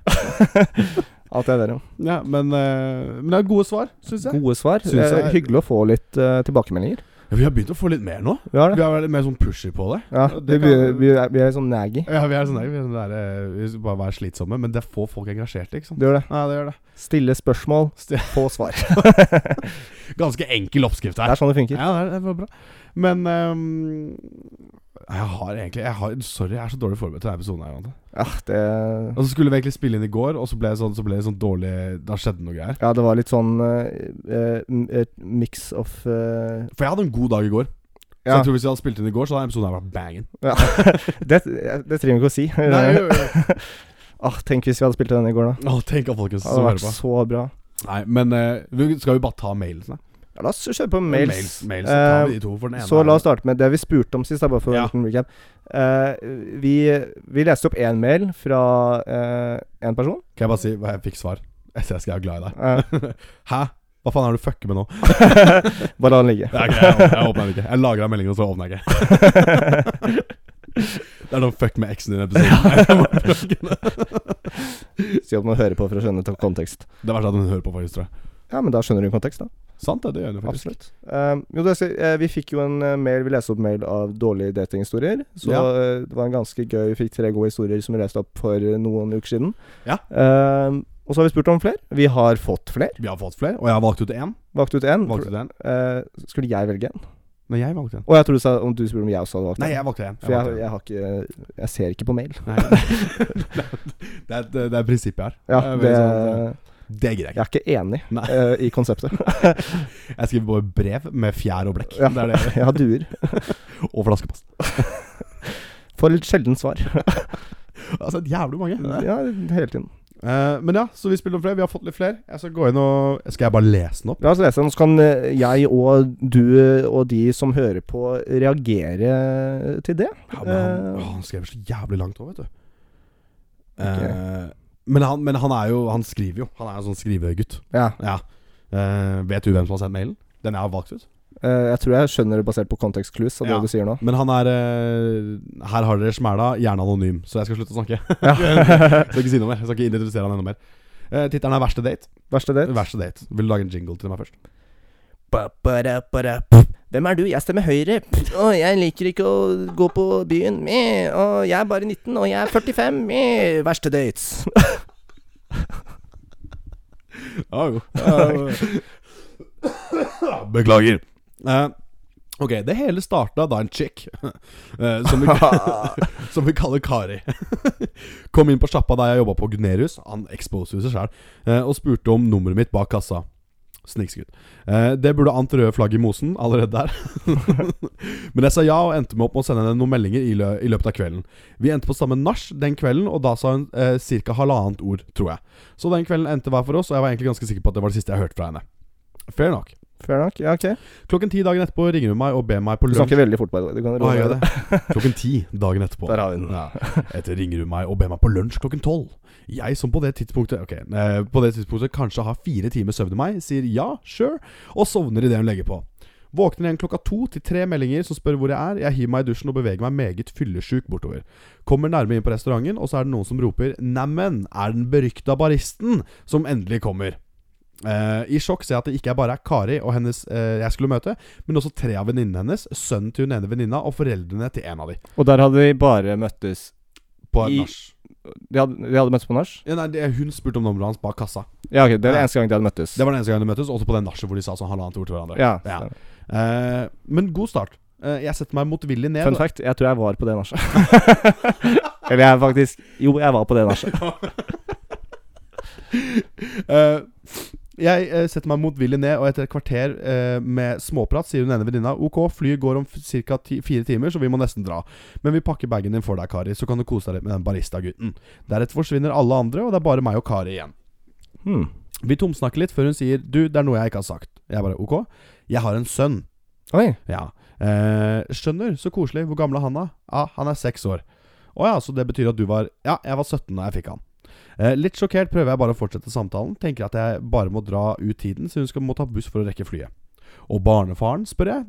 alt jeg ber om.
Ja, men, eh, men det er gode svar, syns jeg.
Gode svar.
Synes jeg-
Eh, hyggelig å få litt eh, tilbakemeldinger.
Ja, vi har begynt å få litt mer nå.
Vi har
Vi
det.
har vært litt mer sånn pushy på det.
Ja,
det
vi, vi,
kan-
vi, er, vi er sånn naggy.
Ja, vi er sånn der, vi er sånn der eh, Vi skal bare være slitsomme, men det får folk engasjert, ikke sant?
Det gjør det.
Ja, det gjør det.
Stille spørsmål,
Sti-
få svar.
Ganske enkel oppskrift
Det
her.
er sånn det funker.
Ja, det, er, det var bra. Men eh, jeg har egentlig jeg har, Sorry, jeg er så dårlig forberedt til denne episoden. her Jonathan.
Ja, det
Og så skulle vi egentlig spille inn i går, og så ble det sånn, så ble det sånn dårlig Da skjedde noe greier.
Ja, det var litt sånn eh, eh, m- et mix of eh,
For jeg hadde en god dag i går. Så
Ja.
jeg tror Hvis vi hadde spilt inn i går, så hadde episoden her vært banging.
Ja. det, det trenger vi ikke å si. ah, tenk hvis vi hadde spilt den i går, da.
Å, tenk at folkens
Det hadde
som hører
vært
på.
så bra.
Nei, men eh, vi- skal vi bare ta mailsene?
Ja, la oss kjøre på mails.
Mails, mails så tar vi
Eh,
de to for den ene.
Så la oss starte med det vi spurte om sist. Da, bare for
Ja.
en liten recap. Eh, vi, vi leste opp én mail fra én person.
Kan jeg bare si hva jeg fikk svar? Jeg ser jeg skal være glad i deg.
Eh,
Hæ? Hva faen er det du fucker med nå?
bare la den ligge.
Nei, ok, jeg, åpner- jeg åpner den ikke. Jeg lager av meldingen, og så åpner jeg ikke. Det er noe fuck med eksen din i episoden.
Si at man hører på for å skjønne kontekst.
Det er verst at hun hører på, faktisk, tror jeg.
Ja, men da skjønner du kontekst, da.
Sant det, det gjør hun jo faktisk.
Absolutt. Eh, jo, det skal, eh, vi fikk jo en eh, mail Vi leste opp mail av dårlige datinghistorier. Så
Ja.
eh, det var en ganske gøy Vi fikk tre gode historier som vi leste opp for eh, noen uker siden.
Ja.
Eh, og så har vi spurt om flere. Vi har fått flere.
Vi har fått flere, og jeg har valgt ut én.
Valgt ut én.
Valgt ut en.
Eh, skulle jeg velge en?
Nei, jeg valgte en.
Og jeg tror du sa om du spurte om jeg også hadde valgt
Nei,
en.
jeg valgte en.
For jeg,
valgte en.
jeg har ikke Jeg ser ikke på mail.
Nei. det, er, det, det er prinsippet jeg har. Jeg
Ja,
er
det,
veldig sånn, det gidder jeg
jeg
ikke.
er ikke enig
Nei.
eh, i konseptet.
Jeg skriver bare brev med fjær og blekk.
Ja.
Det er det.
Jeg har duer.
Og flaskepost.
For litt sjeldent svar.
Altså, jævlig mange.
Ja, hele tiden.
Eh, men ja, så vi spiller om flere. Vi har fått litt flere. Jeg skal gå inn og Skal jeg bare lese den opp?
La oss lese den, så kan eh, jeg og du og de som hører på, reagere til det.
Ja, men han,
Eh.
å, han skrev så jævlig langt òg, vet du.
Ok.
Eh, men, han, men han er jo Han skriver jo. Han er en sånn skrivegutt.
Ja.
Ja. Eh, vet du hvem som har sendt mailen? Den jeg har valgt ut.
Eh, jeg tror jeg skjønner det basert på kontekstclues av det
Ja.
du sier nå.
Men han er eh, Her har dere smæla, gjerne anonym. Så jeg skal slutte å snakke.
Ja.
skal ikke si noe mer. Jeg skal ikke identifisere han enda mer. Uh, Tittelen er 'Verste date'.
Verste date?
Verste date Vil du lage en jingle til meg først?
Hvem er du? Jeg stemmer Høyre. Og jeg liker ikke å gå på byen. Og jeg er bare 19, og jeg er 45. Verste dates.
Ja jo. Beklager. Eh, ok, det hele starta da en chick, eh, som, vi, som vi kaller Kari, kom inn på sjappa da jeg jobba på Gunerius, han exposer seg sjæl, eh, og spurte om nummeret mitt bak kassa. Snikskudd. Eh, det burde ant røde flagg i mosen allerede der. Men jeg sa ja, og endte med opp med å sende henne noen meldinger i, lø i løpet av kvelden. Vi endte på samme nach den kvelden, og da sa hun eh, ca. halvannet ord, tror jeg. Så den kvelden endte hver for oss, og jeg var egentlig ganske sikker på at det var det siste jeg hørte fra henne. Fair nok.
Fair nok. Ja, ok.
Klokken ti dagen etterpå ringer hun meg og ber meg på
Du
lunsj.
snakker veldig fort, bare. Du
Å,
kan
jeg
roe
gjør
deg.
det. Klokken ti dagen etterpå.
Der har vi den.
Ja. Etter ringer hun meg og ber meg på lunsj klokken tolv. Jeg som på det tidspunktet Ok, eh, på det tidspunktet kanskje har fire timer søvn i meg, sier ja, sure, og sovner idet hun legger på. Våkner igjen klokka to til tre meldinger som spør hvor jeg er. Jeg hiver meg i dusjen og beveger meg meget fyllesjuk bortover. Kommer nærme inn på restauranten, og så er det noen som roper 'Neimen, er den berykta baristen?' som endelig kommer. Eh, I sjokk ser jeg at det ikke er bare er Kari og hennes eh, jeg skulle møte, men også tre av venninnene hennes, sønnen til hun ene venninna og foreldrene til en av de.
Og der hadde de bare møttes
På et
I-
nach.
De hadde, de hadde møttes på nach?
Ja, nei, det- hun spurte om nummeret hans bak kassa.
Ja, ok. Det
Ja.
er den eneste gang de hadde møttes.
Det var den eneste gangen de møttes, også på det nachet hvor de sa sånn halvannet ord til hverandre.
ja.
Ja. Eh, men god start. Eh, jeg setter meg motvillig ned.
Fun fact, jeg tror jeg var på det nachet. Eller jeg faktisk Jo, jeg var på det nachet.
Eh, jeg eh, setter meg motvillig ned, og etter et kvarter eh, med småprat sier hun ene venninna OK, flyet går om ca. fire timer, så vi må nesten dra. Men vi pakker bagen din for deg, Kari, så kan du kose deg litt med den baristagutten. Deretter forsvinner alle andre, og det er bare meg og Kari igjen.
Hmm.
Vi tomsnakker litt før hun sier 'du, det er noe jeg ikke har sagt'. Jeg bare 'ok, jeg har en sønn'.
Oi.
Ja. Eh, skjønner, så koselig. Hvor gammel er han, da? Ja, han er seks år. Å ja, så det betyr at du var Ja, jeg var 17 da jeg fikk han. Eh, litt sjokkert prøver jeg bare å fortsette samtalen. Tenker at jeg bare må dra ut tiden, så hun skal må ta buss for å rekke flyet. Og barnefaren, spør jeg.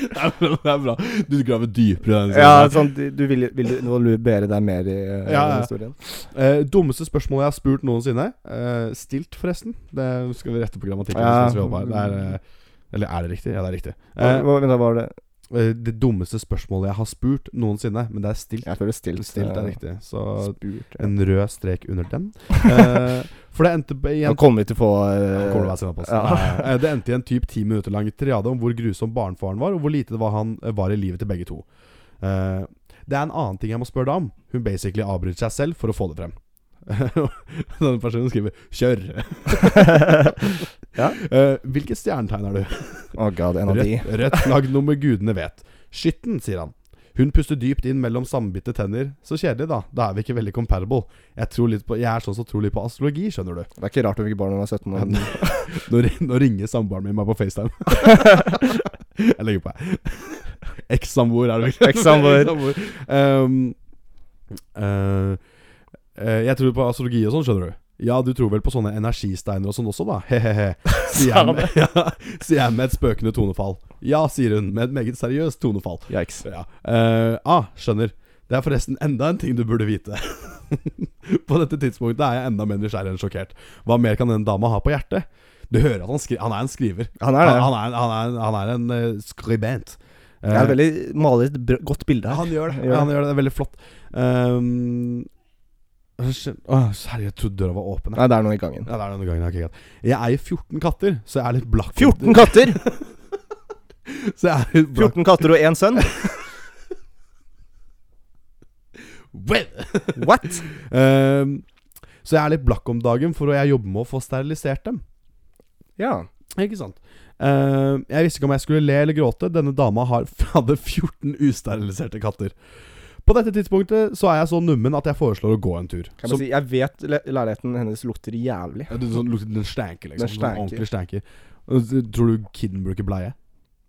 det, er bra, det er bra. Du graver dypere i den
Ja, sånn, du, du vil, vil du involvere deg mer i eh,
Ja, ja.
historien?
Eh, dummeste spørsmålet jeg har spurt noensinne. Eh, stilt, forresten. Det skal vi rette på grammatikken.
Ja.
mens vi holder på her. Det er, eh, eller er det riktig? Ja, det er riktig.
Hva-
Eh,
hva- Vent, da var det
Eh, Det dummeste spørsmålet jeg har spurt noensinne, men det er stilt.
Jeg føler stilt.
stilt
eh,
er riktig. Så
Spurt. Ja.
en rød strek under den. Eh, for det endte på- i
Nå
en
kommer vi til å få eh,
Kommer det meg senere på oss.
ja.
Nei, eh, Det endte i en typ ti minutter lang triade om hvor grusom barnefaren var, og hvor lite det var han eh, var i livet til begge to. Eh, Det er en annen ting jeg må spørre deg om. Hun basically avbryter seg selv for å få det frem. Denne personen skriver 'kjør'.
Ja.
Eh, hvilket stjernetegn er du?
Å god, en av de.
Rødt, rødt flagg nummer gudene vet. Skytten, sier han. Hun puster dypt inn mellom sammenbitte tenner. Så kjedelig, da. Da er vi ikke veldig comparable. Jeg, tror litt på, jeg er sånn som tror litt på astrologi, skjønner du.
Det er ikke rart du fikk barn da du var 17 år.
Nå, ri- nå ringer samboeren min meg på FaceTime. jeg legger på, jeg. Ekssamboer, er det vel?
Ekssamboer.
Ehm, eh, eh, jeg tror på astrologi og sånn, skjønner du. Ja, du tror vel på sånne energisteiner og sånn også, da? He-he-he. Sier
Sa
jeg, med, ja, sier jeg med et spøkende tonefall. Ja, sier hun, med et meget seriøst tonefall.
Yikes.
Ja. Eh, ah, skjønner. Det er forresten enda en ting du burde vite. på dette tidspunktet er jeg enda mer nysgjerrig enn sjokkert. Hva mer kan den dama ha på hjertet? Du hører at han, skri han er en skriver.
Han er det.
Han, han er, en- han er, en- han er en eh, skribent.
Det
Eh,
er veldig maler et br- godt bilde her.
han gjør det.
Gjør
Han gjør det, det er veldig flott. Um, skjøn- Åh, Herregud, jeg trodde døra var åpen. jeg.
Nei, det er noe i gangen.
Ja, det er denne gangen. ok, greit. Jeg eier 14 katter, så jeg er litt blakk.
14 katter!
Så jeg er litt blakk.
14 katter og én sønn?
Well.
What?
Ehm, så jeg er litt blakk om dagen, for jeg jobber med å få sterilisert dem.
Ja.
Ikke sant? Ehm, jeg visste ikke om jeg skulle le eller gråte. Denne dama har, hadde 14 usteriliserte katter. På dette tidspunktet så er jeg så nummen at jeg foreslår å gå en tur.
Kan
Så-
man si Jeg vet le leiligheten hennes lukter jævlig.
Ja, det, sånn, lukter- den stenker, liksom.
Den
Sånn
stenker.
ordentlig stenker. Og så Tror du kiden bruker bleie?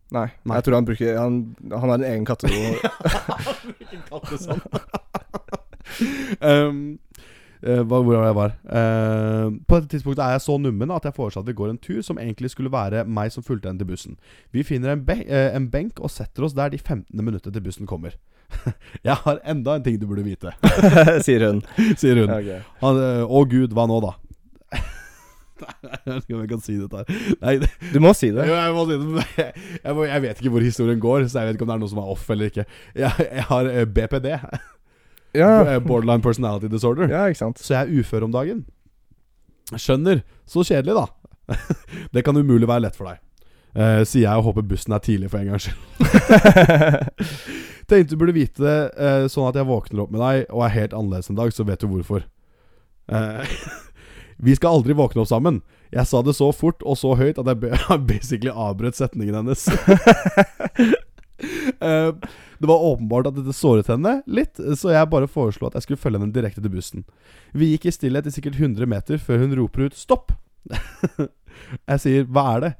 Nei,
Nei.
jeg tror han bruker Han, han har en egen kategori.
sånn. um, eh, hva, hvor var jeg var? Eh, på dette tidspunktet er jeg så nummen at jeg foreslår at vi går en tur som egentlig skulle være meg som fulgte henne til bussen. Vi finner en, be eh, en benk og setter oss der de 15. minutter til bussen kommer. jeg har enda en ting du burde vite,
sier hun.
sier hun.
Ja, ok.
Han, eh, å gud, hva nå da? Nei, jeg vet ikke om jeg kan si dette her. Nei, det,
Du må si det.
jo, jeg, må si det, men jeg, jeg, må, jeg vet ikke hvor historien går, så jeg vet ikke om det er noe som er off eller ikke. Jeg, jeg har eh, BPD,
Ja,
eh, Borderline Personality Disorder,
ja ikke sant.
så jeg er ufør om dagen. Skjønner. Så kjedelig, da. det kan umulig være lett for deg. Eh, sier jeg og håper bussen er tidlig for en gangs skyld. Tenkte du burde vite det, eh, sånn at jeg våkner opp med deg og er helt annerledes en dag, så vet du hvorfor. Eh, vi skal aldri våkne opp sammen. Jeg sa det så fort og så høyt at jeg be- basically avbrøt setningen hennes. Eh, det var åpenbart at dette såret henne litt, så jeg bare foreslo at jeg skulle følge henne direkte til bussen. Vi gikk i stillhet i sikkert 100 meter før hun roper ut 'stopp'. jeg sier 'hva er det'?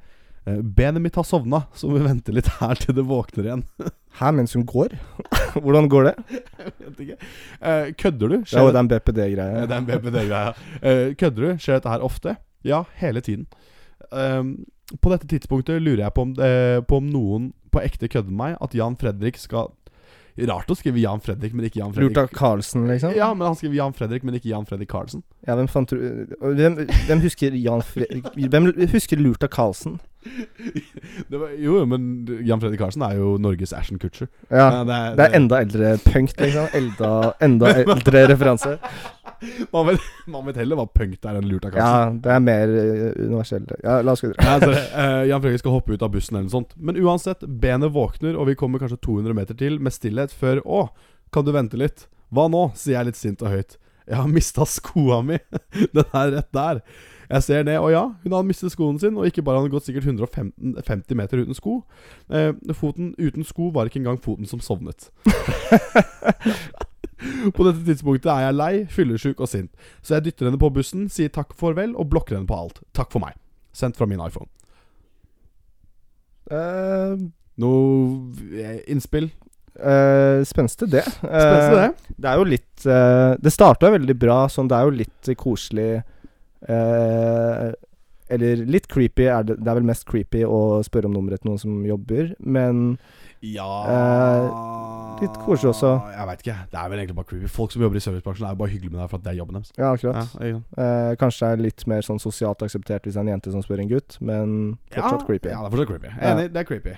Eh, Benet mitt har sovna, så vi venter litt her til det våkner igjen.
Her mens hun går? Hvordan går det?
Vet ikke. Eh, kødder du?
Det er jo
det,
den
Eh, det
BPD-greia.
er en BPD-greie. Eh, kødder du? Skjer dette her ofte? Ja, hele tiden. Ehm, på dette tidspunktet lurer jeg på om, eh, på om noen på ekte kødder med meg at Jan Fredrik skal Rart å skrive Jan Fredrik, men ikke Jan Fredrik.
Lurt av Carlsen, liksom?
Ja, men han skriver Jan Fredrik, men ikke Jan Fredrik Karlsen.
Ja, hvem fant du Hvem, hvem husker Jan Fredrik Hvem husker lurt av Carlsen?
Det var, jo, men Jan Fredrik Karlsen er jo Norges Ashton Kutcher.
Ja.
det,
Det er enda eldre punk, liksom. Elda, enda eldre referanse.
man, vet, man vet heller hva punkt er enn lurt av Karlsen.
Ja, det er mer eh, universelt. Ja, la oss gå videre.
Nei, altså, eh, Jan Fredrik skal hoppe ut av bussen eller noe sånt. Men uansett, benet våkner, og vi kommer kanskje 200 meter til med stillhet før Å, kan du vente litt? Hva nå? sier jeg litt sint og høyt. Jeg har mista skoa mi! Den er rett der. Jeg ser ned, og ja, hun hadde mistet skoen sin, og ikke bare hadde hun gått sikkert 150 50 meter uten sko. Eh, foten uten sko var ikke engang foten som sovnet. på dette tidspunktet er jeg lei, fyllesyk og sint, så jeg dytter henne på bussen, sier takk og farvel og blokker henne på alt. Takk for meg. Sendt fra min iPhone.
Eh,
Noe eh, innspill?
eh, spenstig, det.
Spennende,
Eh,
det.
Det er jo litt eh, Det starta veldig bra, sånn det er jo litt koselig eh, Eller litt creepy er det Det er vel mest creepy å spørre om nummeret til noen som jobber, men
Ja
Eh, litt koselig også.
Jeg veit ikke. Det er vel egentlig bare creepy. Folk som jobber i servicebransjen, er jo bare hyggelige med deg for at det er jobben deres.
ja, akkurat.
Ja, ja.
Eh, kanskje det er litt mer sånn sosialt akseptert hvis det er en jente som spør en gutt, men fortsatt
ja,
creepy.
Ja, det er fortsatt creepy. Jeg er
Ja.
Enig, det er creepy.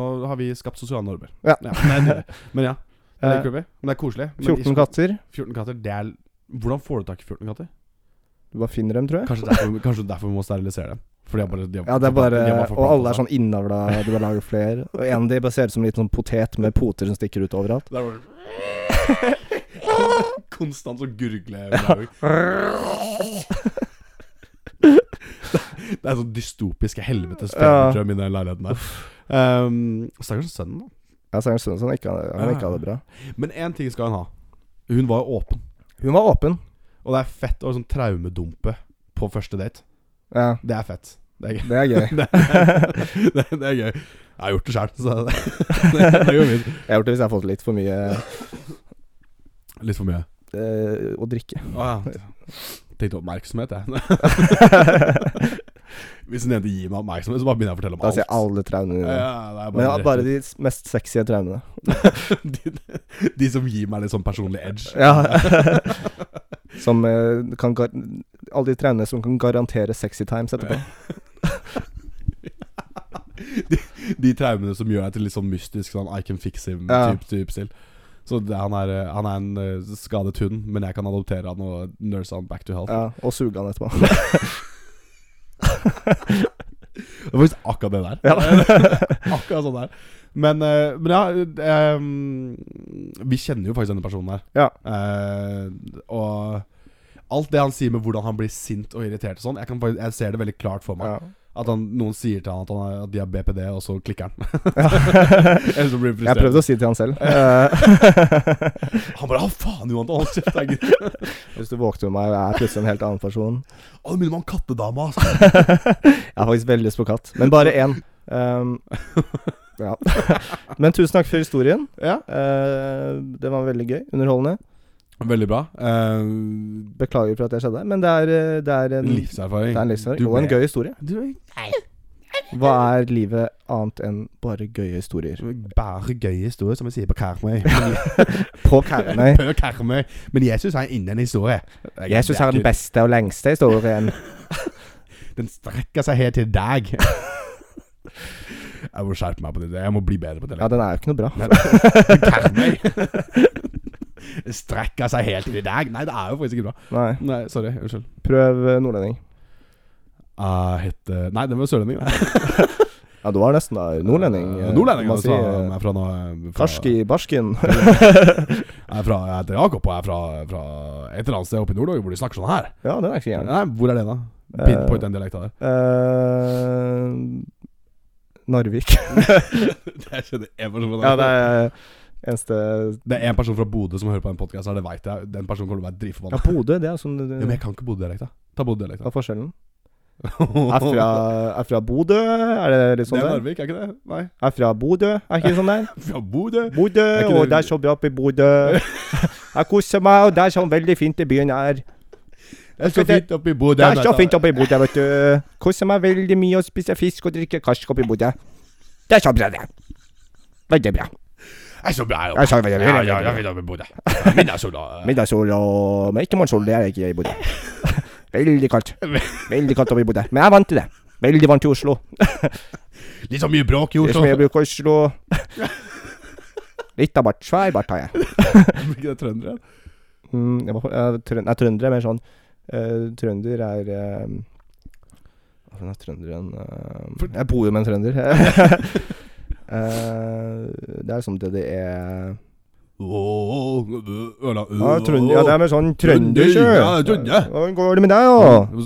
Nå har vi skapt sosiale normer.
Ja.
men, men ja. Det er
Eh,
litt creepy. Men det er koselig. Men
14
ikke-
katter.
14 katter, det er Hvordan får du tak i 14 katter?
Du bare finner dem, tror jeg.
Kanskje derfor, kanskje derfor vi må sterilisere dem. For de har bare de har,
Ja, det er bare
de har bare
Og alle
forplantet
er sånn innavla, du bare lager flere. Og en av de bare ser ut som en liten sånn potet med poter som stikker ut overalt.
seg. Det er bare konstant sånn gurgleblaug. Det er sånn dystopiske helvetes
Ja.
femitrøm i den leiligheten der. Um, Stakkars sønnen, da.
Ja, Sanger Sørensen ikke, han, han
Ja.
ikke hadde det bra.
Men én ting skal hun ha. Hun var jo åpen.
Hun var åpen.
Og det er fett å sånn traumedumpe på første date.
Ja,
Det er fett. Det er gøy.
det er gøy.
Det er, det, er, det er gøy. Jeg har gjort det sjøl, så det, det, det går fint.
Jeg har gjort det hvis jeg har fått litt for mye
Litt for mye.
eh, å drikke.
Å ja. Tenkte oppmerksomhet, jeg. Hvis en jente gir meg oppmerksomhet, så bare begynner jeg å fortelle om
Da
alt.
ser jeg alle traumene
Ja,
dine.
det er
Men ja,
bare,
bare de s- mest sexy traumene.
de, de som gir meg litt sånn personlig edge.
Ja. som eh, kan gar Alle de traumene som kan garantere sexy times etterpå.
de, de traumene som gjør deg til litt sånn mystisk sånn I can fix him
Ja.
typ, typ stil. Så det, han, er, eh, han er en eh, skadet hund, men jeg kan adoptere han og nurse han back to health.
Ja, og suge han etterpå.
Det var faktisk akkurat det der.
Ja.
akkurat sånn der. Men, eh, men ja eh, Vi kjenner jo faktisk denne personen her.
Ja.
Eh, og alt det han sier med hvordan han blir sint og irritert og sånn, jeg, kan faktisk- jeg ser det veldig klart for meg.
Ja.
At han, noen sier til han at, han er, at de har BPD, og så klikker han.
Jeg
Eller så blir han frustrert.
prøvde å si det til han selv. Eh,
Han bare 'Å, faen, Johan, hold kjeft', jeg gidder
Hvis du våkner med meg og jeg er plutselig en helt annen person
Å, det minner meg om kattedama, altså.
Jeg har faktisk veldig lyst på katt, men bare én. Ehm, ja. Men tusen takk for historien.
Ja.
Eh, det var veldig gøy. Underholdende.
Veldig bra. Eh,
Beklager for at det skjedde, men det er, eh, det er en, det
livserfaring.
er en livserfaring
Du
og en
ble-
gøy historie.
Du
Hva er livet annet enn bare gøye historier?
Mm. Bare gøy historie, som vi sier på Karmøy.
På Karmøy.
På Karmøy. Men Jesus har innen en historie.
Jesus er den beste og lengste historien.
Den strekker seg helt til deg. Jeg må skjerpe meg på det. Jeg må bli bedre på det.
Ja, den er jo ikke noe bra.
Karmøy. Den strekker seg helt til deg. Nei, det er jo faktisk ikke bra.
Nei.
Nei, sorry. Unnskyld.
Prøv eh, nordlending.
Jeg heter Nei, den var sørlending. nei.
Ja, du var nesten da nordlending. eh,
Nordlending.
må
altså.
si, eh,
Jeg er fra, nå- fra
Karsk i barsken.
Jeg er fra, jeg heter Jakob, og jeg er fra, fra et eller annet sted oppe i Nord-Norge hvor de snakker sånn her.
Ja, Eh. den er ikke gæren.
Nei, hvor er det, da? Pinpoint den dialekta der.
Eh, Narvik.
Jeg kjenner en person fra
ja, det er eneste
Det er en person fra Bodø som hører på den podkasten, det veit jeg. Den personen kommer til å være
Ja,
dritforbanna.
Bodø, det er sånn
Ja, men jeg kan ikke Bodø-dialekta. Ta Bodø-dialekta.
Hva er forskjellen? Er fra, er fra Bodø? Er det litt
Det
sånn
er
der?
Narvik, er ikke det? Nei.
Er fra Bodø? Er ikke det sånn der?
Fra Bodø.
Bodø,
Er ikke
og
det-
det er så bra oppe i Bodø. Jeg koser meg, og det er sånn veldig fint i byen her.
Det er så fint oppe i Bodø.
Det er så
vet du.
fint oppe i Bodø, vet du. Koser meg veldig mye og spiser fisk og drikker karsk oppe i Bodø. Det er så bra, det. Veldig bra.
Det er så bra her
Det
oppe.
er så veldig
Ja, ja, det er
bra.
fint oppe i Bodø. Ja, men det er så bra.
Middagssol og Men ikke morgensol, det er ikke i Bodø. Veldig kaldt. Veldig kaldt oppe i Bodø. Men jeg er vant til det. Veldig vant til Oslo.
Litt så mye bråk i
Det er som
Oslo.
jeg bruker Oslo. Litt av bart. Svær bart har jeg.
Blir ikke det trøndere?
Mm, jeg var, jeg, trøn, nei, trønder er mer sånn eh, Trønder er eh, Hvordan er trønderen eh,
For-
Jeg bor jo med en trønder. Eh, det er som DDE ja,
Åh, Ørland
trønder, ja, det er mer sånn trønder, sjø.
Ja, trønder.
Hvordan går det med deg, da?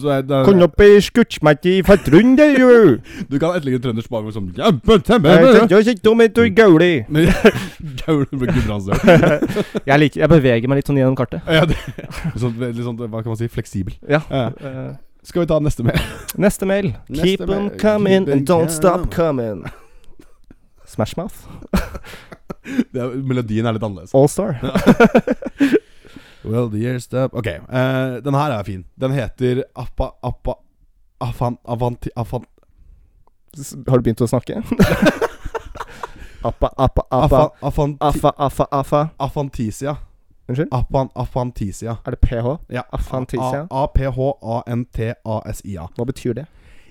Så er det-
Kom opp i skutsmett i fatrunder, jo!
Du kan etterligne trøndersk bare med sånn «Jævla temme,
Jeg
temme».
tenkte å sikte om et gauli.
Men Gaul med gudbrandsdøl.
Jeg, liker, jeg beveger meg litt sånn gjennom kartet.
Ja, det- sånn, veldig sånn, hva kan man si, fleksibel.
Ja.
Ja.
Eh,
Skal vi ta neste mail?
Neste mail.
Neste
Keep on
mail.
coming
Keep
and
on
don't stop
coming.
coming. Smashmouth.
Det er, melodien er litt annerledes.
Allstar.
Well, the year stop Ok, eh, den her er fin. Den heter Appa Appa Afan Avanti Afan
Har du begynt å snakke? appa, appa, appa.
Afan Afan
Affa, affa, affa.
Afantisia.
Unnskyld?
Apan Afantisia.
Er det ph?
Ja.
Afantisia?
A- A-P-H-A-N-T-A-S-I-A.
Hva betyr det?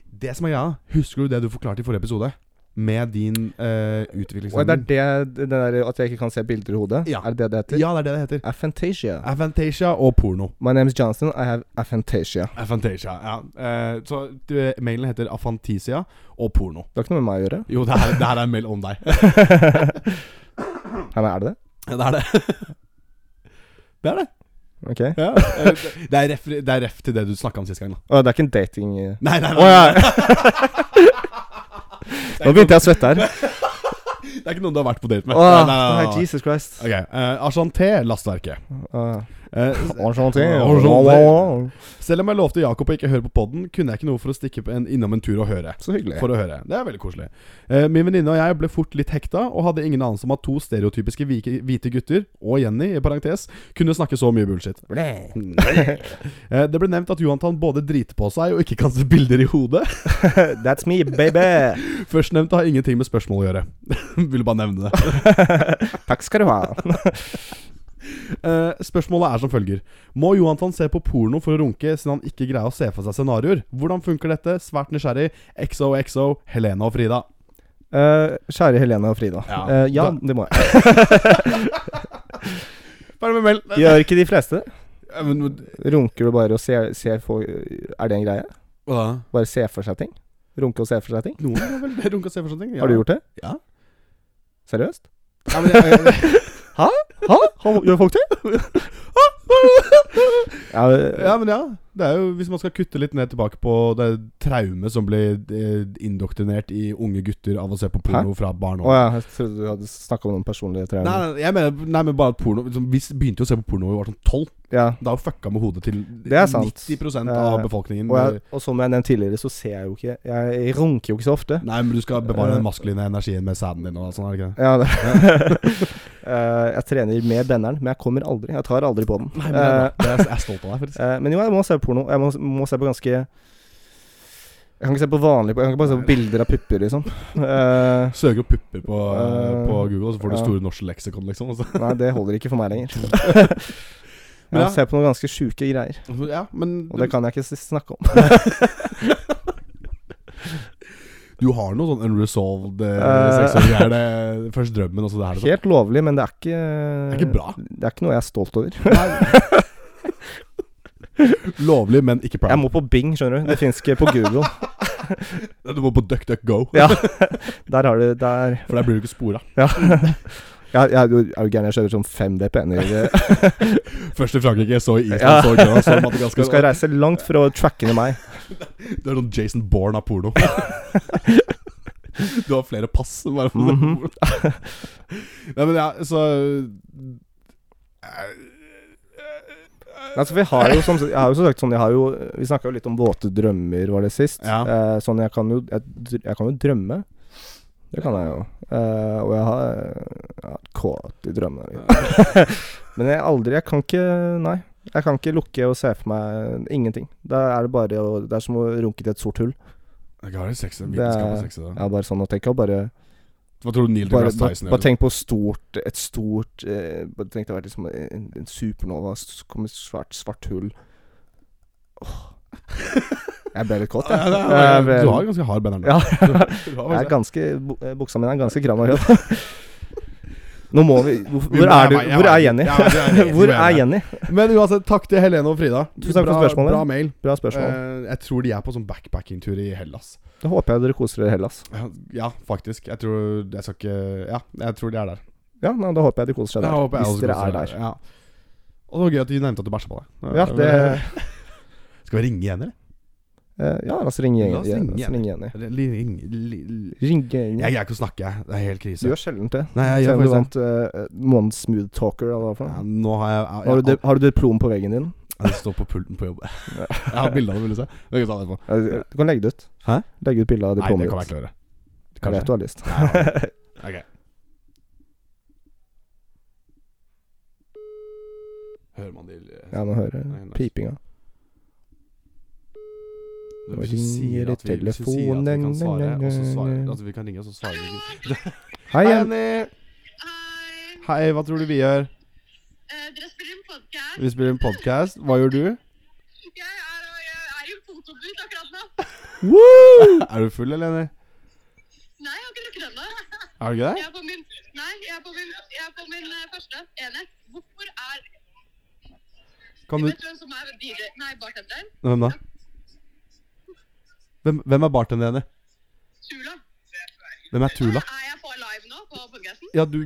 Det som er greia, husker du det du forklarte i forrige episode? Med din uh,
Og det er
utviklingshemming?
det, det der at jeg ikke kan se bilder i hodet?
Ja.
Er det det det heter?
Ja, det er det det heter.
Aphantasia.
Afantasia og porno.
My name is Johnson. I have aphantasia.
Afantasia, ja. Eh, så du, mailen heter Afantasia og porno.
Det har ikke noe med meg å gjøre.
Jo, det her, det her er en mail om deg.
Nei, men er det det?
Ja, det er det. Det er det.
Ok?
Ja, eh, det- det, er ref, det er ref til det du snakka om sist gang, da.
Å, det er ikke en dating... eh.
Nei, nei, nei.
Å ja! Nå begynte jeg å svette her.
Det er ikke noen du har vært på date med.
Å,
Nei, nei, nei, nei, nei.
Jesus Christ.
Ok, eh, Archanté lastverket.
Å.
Eh,
Enchanté.
Enchanté. selv om jeg lovte Jakob å ikke høre på podden, kunne jeg ikke noe for å stikke på en, innom en tur og høre.
Så hyggelig.
For å høre. Det er veldig koselig. Eh, min venninne og jeg ble fort litt hekta, og hadde ingen anelse om at to stereotypiske vike, hvite gutter, og Jenny i parentes, kunne snakke så mye bullshit. Eh, det ble nevnt at Johantan både driter på seg og ikke kan se bilder i hodet.
That's me, baby!
Førstnevnte har ingenting med spørsmål å gjøre. Ville bare nevne det.
Takk skal du ha.
Eh, spørsmålet er som følger. Må Johantan se på porno for å runke, siden han ikke greier å se for seg scenarioer? Hvordan funker dette? Svært nysgjerrig. XOXO, Helene og Frida.
Eh, kjære Helene og Frida.
Ja.
Eh, ja
Da-
det må jeg.
Bare med meld.
Gjør ikke de fleste?
Eh, men-
Runker du bare og ser, ser for Er det en greie?
Hva da?
Bare se for seg ting? Runke og se for seg ting?
Noen har vel det runka se for seg ting.
Har du gjort det?
Ja.
Seriøst?
Ja, men jeg, jeg,
Hæ? Har- Gjør folk det? Ja,
ja, men ja. Det er jo, hvis man skal kutte litt ned tilbake på det traume som blir eh, indoktrinert i unge gutter av å se på porno fra barn
Å ja, jeg trodde du hadde snakka om noen personlige
Nei,
traumer.
nei, jeg mener, nei, men bare at porno liksom, Vi begynte jo å se på porno da vi var sånn tolv.
Ja.
Da har jo fucka med hodet til
Det er sant.
90 av
Eh,
befolkningen.
Og, jeg, og som jeg nevnte tidligere, så ser jeg jo ikke Jeg runker jo ikke så ofte.
Nei, men du skal bevare
Eh.
den maskuline energien med sæden din og alt sånt, er det ikke det?
Ja, det. Eh, jeg trener med benneren, men jeg kommer aldri. Jeg tar aldri på den.
Nei, men det er, bra. det er, jeg er stolt av deg, faktisk.
Eh, eh, men jo, jeg må se på porno. Jeg må, må se på ganske Jeg kan ikke se på vanlig på- Jeg kan ikke bare se på bilder av pupper, liksom. Eh,
Søker opp pupper på, eh,
Eh,
på Google, så får du
ja.
Store norske leksikon, liksom. Og så
nei, det holder ikke for meg lenger.
Men
Jeg
ja.
må se på noen ganske sjuke greier,
Ja, men
og det kan jeg ikke s- snakke om.
du har noe sånn unresolved uh,
Eh.
seksuelle greier. det- Først drømmen, og så det her. Liksom.
Helt lovlig, men det er ikke
Det er ikke bra.
Det er ikke noe jeg er stolt over.
eh, Lovlig, men ikke
Jeg
proud.
må på Bing, skjønner du. Det fins ikke på Google.
Du må på DuckDuckGo,
Ja, der har du Der.
for der blir du ikke spora.
Ja. Jeg, jeg er jo er jo gæren, jeg kjører sånn fem VPN-er.
Først i Frankrike, så i Island,
Ja.
så i Grønland, så i
Du skal
Madagaskar.
reise langt for å tracke ned meg.
Du er sånn Jason Bourne av porno. du har flere pass. Bare for
Mhm.
Nei, men ja, så eh,
Nei, altså, for jeg har jo som jeg har jo som sagt sånn jeg har jo, Vi snakka jo litt om våte drømmer, var det sist.
Ja.
Eh, sånn jeg kan jo jeg, dr- jeg kan jo drømme. Det kan jeg jo. Eh, og jeg har jeg har vært kåt i drømmene. Men jeg aldri Jeg kan ikke Nei. Jeg kan ikke lukke og se for meg ingenting. Da er det bare å Det er som å runke til et sort hull.
Jeg har litt sex, en
Det
vitenskap
er-
og sex i det.
Jeg er bare sånn å tenke og bare
Hva tror du Neil
bare,
deGrasse
bare,
Tyson
bare
gjør?
tenk på stort et stort eh, bare Tenk det har vært liksom en, en supernova, så kommer et svært svart hull Åh. Jeg ble litt kåt,
Ja,
jeg.
det
Jeg
er-
ble-
Du har ganske hard benneren.
Ja.
Du har
jeg er
faktisk-
ganske, bu- eh, buksa mi er ganske kram og rød. Nå må vi Hvor,
Vi
hvor
må-
er du?
jeg- jeg-
Hvor er Jenny?
Ja, jeg- jeg- jeg-
Hvor er Jenny?
Men uansett, takk til Helene og Frida.
Tusen takk for
Bra-
spørsmålet.
Bra mail.
Bra spørsmål.
Eh, jeg tror de er på sånn backpacking-tur i Hellas.
Da håper jeg dere koser dere i Hellas.
Ja, Ja, faktisk. Jeg tror Jeg skal ikke Ja, jeg tror de er der.
Ja, nei, da håper jeg de koser seg
Jeg
der.
håper jeg
Hvis
også
dere
koser
er
meg.
der.
Ja. Og det var gøy at de nevnte at du bæsja på deg.
Ja, det
Skal vi ringe igjen, eller?
eh, Ja, la oss ringe
La oss
Jenny.
ringe
La oss ringe Jenny.
Eller li- ring- li- li-
Ringe
Jeg
Jenny.
greier ikke å snakke, jeg. Det er helt krise.
Du gjør sjelden det.
Nei, jeg
Selv
gjør
om du
faktisk det.
vant eh, månedens smooth talker, eller hva for
Ja,
noe.
nå har jeg, jeg,
Har du, har du diplom på veggen din?
Ja, Det står på pulten på jobb. Jeg har bilde av det, vil du se. Vi kan ta det etterpå.
Ja, Du du kan legge det ut.
Hæ?
Legge ut bilde
Nei,
av
det
diplomet
kan jeg
ditt.
ikke gjøre.
Jeg vet du
Kanskje.
har lyst.
Ok. Hører man de
Ja, nå hører jeg pipinga.
Hvis du sier at vi, hvis du sier at vi kan svare, og så svarer At vi kan ringe, og så svarer vi ikke.
Hei,
Hei,
Jen.
Jenny!
Hei.
Hei, hva tror du vi gjør?
Eh, dere spiller en podcast.
Vi spiller en podkast. Hva gjør du?
Jeg er, jeg er i en fotobud akkurat nå.
Er du full, eller, Jenny?
Nei, jeg har ikke drukket ennå.
Er du ikke
Jeg
det?
er på min, nei, jeg er på min, jeg er på min eh, første enhet. Hvorfor er
Kan du
Vet du hvem som er DJ? Nei, bartenderen?
Hvem da? Hvem, hvem er bartenderen, Jenny?
Sula.
Hvem er Tula?
Er jeg på live nå på podcasten?
Ja, du,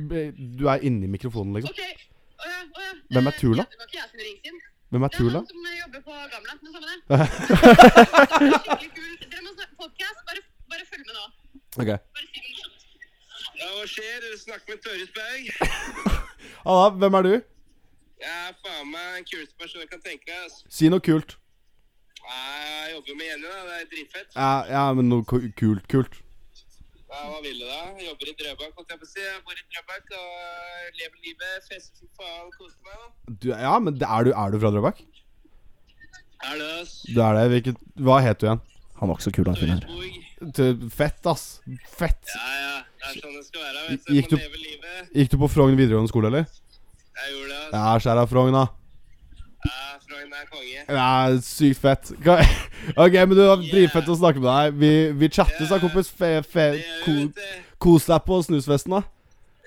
du er inni mikrofonen, liksom.
Ok. eh, Åja, åja.
Hvem er Tula?
Det var ikke jeg som ringte inn.
Hvem er
Det er
Tula?
han som eh, jobber på Gamla. Men samme det. Skikkelig kul. Dere må snakke podcast. Bare, bare følg med nå.
Ok.
Bare si det kjapt.
Ja, hva skjer? Dere snakker med Tørresberg.
Halla, hvem er du?
Jeg er faen meg den kuleste personen du kan tenke deg. ass.
Si noe kult.
Nei, Jeg jobber jo med Jenny, da. Det er dritfett.
Ja, ja men noe ku- kult, kult.
Ja, hva vil du da? Jeg jobber i Drøbak, holdt jeg på å si. Jeg bor i Drøbak og øh, lever livet. Fester som faen, koser meg. da.
Du, ja, men det- er du, er du fra Drøbak?
Er det ass?
Du er det. Hvilket, hva het du igjen?
Han var ikke så kul, han fyren her.
Tørresborg.
T- Fett, ass. Fett.
Ja, ja. Det er sånn det skal være. vet du.
Gikk
Man
du-
lever livet.
Gikk du på Frogn videregående skole, eller?
Jeg gjorde det. ass.
Ja, skjæra Frogn, da.
Ja, Frogn er konge.
Ja, sykt fett. Ka- Ok, men du, det var dritfett å snakke med deg. Vi, vi chattes da, kompis. Fe, fe,
Det gjør vi,
ko,
vet du.
kos deg på snusfesten, da.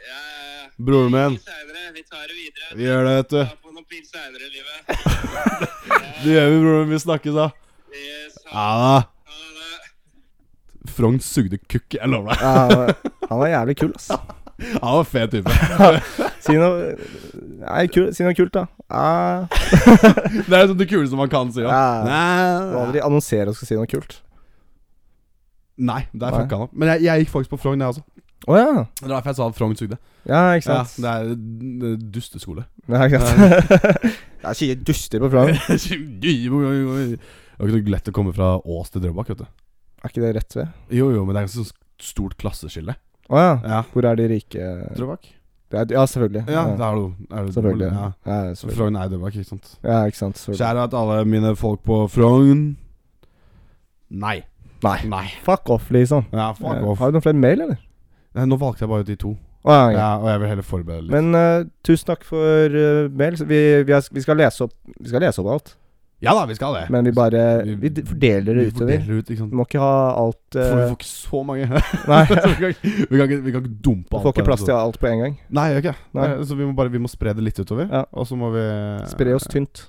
Ja, ja, ja.
Broren min.
Vi senere. Vi tar det videre.
Vi gjør det, vet
Vi
du.
tar på noen pils senere i livet.
Det gjør vi, broren min. Vi snakkes, da.
Yes, ha
Ja da.
det.
Frogn sugde kukk, jeg lover deg.
Ja, han var- han var jævlig kul, ass.
Han var fet type.
Si noe Nei, kul, si noe kult, da. Ah, Ja,
Det er sånn det kuleste man kan si. Ja.
Ja. det var
Nei,
aldri annonsere og skal si noe kult.
nei, der
Nei.
fucka han opp. Men jeg, jeg gikk faktisk på Frogn, jeg også.
Å ja.
Det er derfor jeg sa at Frogn sugde.
Ja, ikke
Ja,
sant.
det er det er dusteskole.
Ja, ikke sant. Det er sikkert duster på Frogn.
det var ikke noe lett å komme fra Ås til Drøbak, vet du.
Er ikke det rett ved?
Jo, jo, men det er ganske sånn stort klasseskille.
Å ja.
Ja.
Hvor er de rike
Drøbak?
det er, Ja, selvfølgelig.
Ja, det er du. Er du
Selvfølgelig.
Ja.
Ja,
Så
selvfølgelig.
Frogn er Drøbak, ikke sant.
ja ikke sant. Selvfølgelig.
Kjære at alle mine folk på Frogn Nei.
Nei.
Nei.
Fuck off, liksom.
Ja, fuck
Eh,
off.
Har du noen flere mail, eller?
Nei, nå valgte jeg bare ut de to.
Å, ja, ok.
Ja, og jeg vil heller forberede litt.
Men eh, tusen takk for eh, mail. Så Vi, vi, er, vi, skal lese opp, vi skal lese opp alt,
Ja da, vi skal det.
men vi bare
Vi-
Vi d- fordeler det
Vi
utover.
fordeler ut, ikke sant.
Vi må ikke ha alt
For vi
eh,
får ikke så mange.
Nei.
Så vi, kan, ikke- vi, kan ikke, vi kan ikke dumpe
Vi
på
får
en
ikke plass til
episode.
alt på en gang.
Nei, gjør ikke det.
Nei.
Nei, Så vi må bare vi må spre det litt utover.
Ja.
Og så må vi
Spre oss tynt.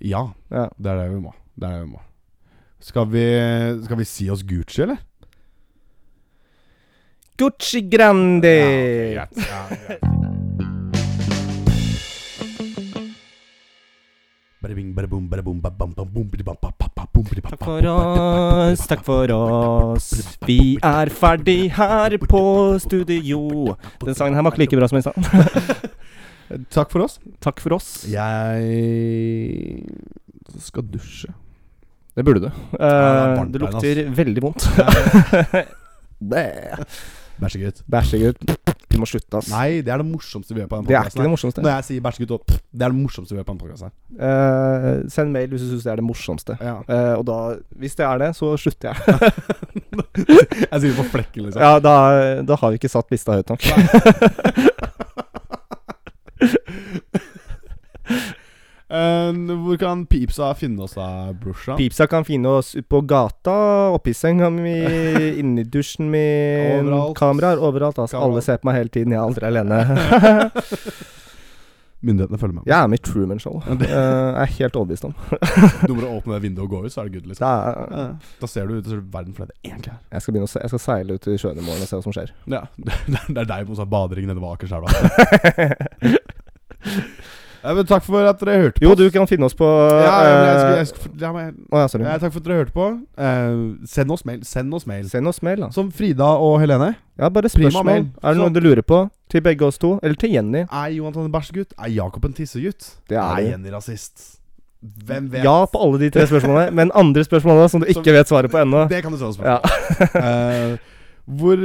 Ja.
Ja.
Det er det vi må. Det er det vi må. Skal vi, skal vi si oss Gucci, eller?
Gucci Grandi!
Ja, ok, greit. Ja, greit.
Takk for oss, takk for oss. Vi er ferdig her på studio.
Den sangen her var ikke like bra som i stad.
Takk for oss.
Takk for oss.
Jeg skal dusje.
Det burde du. Eh,
Ja, det er varmt
det
der,
lukter veldig vondt. Bæ.
Bæsjegutt.
Bæsjegutt. Vi må slutte, ass.
Nei, det er det morsomste vi gjør på den
det er ikke
podcasten
det
her.
morsomste.
Når jeg sier bæsjegutt og pff, det er det morsomste vi gjør på den podcasten her.
Eh, send mail hvis du syns det er det morsomste.
Ja.
Eh, og da, hvis det er det, så slutter jeg.
Jeg sier det på flekken, liksom.
Ja, da, da har vi ikke satt lista høyt nok.
Eh, hvor kan Pipsa finne oss da, brorsan?
Pipsa kan finne oss ut på gata, oppi senga mi, inni dusjen min.
Overalt.
Kameraer overalt. Altså,
Kameraer.
alle ser på meg hele tiden, jeg er aldri alene.
Myndighetene følger med.
jeg er med i Truman-show. Uh, jeg er helt overbevist om.
Du må bare åpne det vinduet og gå ut, så er det good, liksom.
Det er,
Ja. Da ser du ut til verden for det egentlig er.
jeg, skal begynne å se, jeg skal seile ut i sjøen i morgen og se hva som skjer.
Ja. Det det er deg på sånn badering nede ved Akerselva. ja, men takk for at dere hørte på.
Jo, du kan finne oss på
ja, ja, men jeg skulle,
eh,
jeg skulle, ja, men,
Å ja, sorry.
ja, Takk for at dere hørte på. Eh, send oss mail. Send oss mail.
Send oss mail, da.
Som Frida og Helene.
Ja, bare
Prima
spørsmål.
mail.
Er det
Så-
noe du lurer på? Til begge oss to? Eller til Jenny?
Er Johan en bæsjegutt? Er Jakob en tissegutt?
Det er det.
Jenny rasist? Hvem vet?
Ja på alle de tre spørsmålene, men andre spørsmål da, som du
Som-
ikke vet svaret på ennå.
Det kan du se oss på.
Ja.
Eh, hvor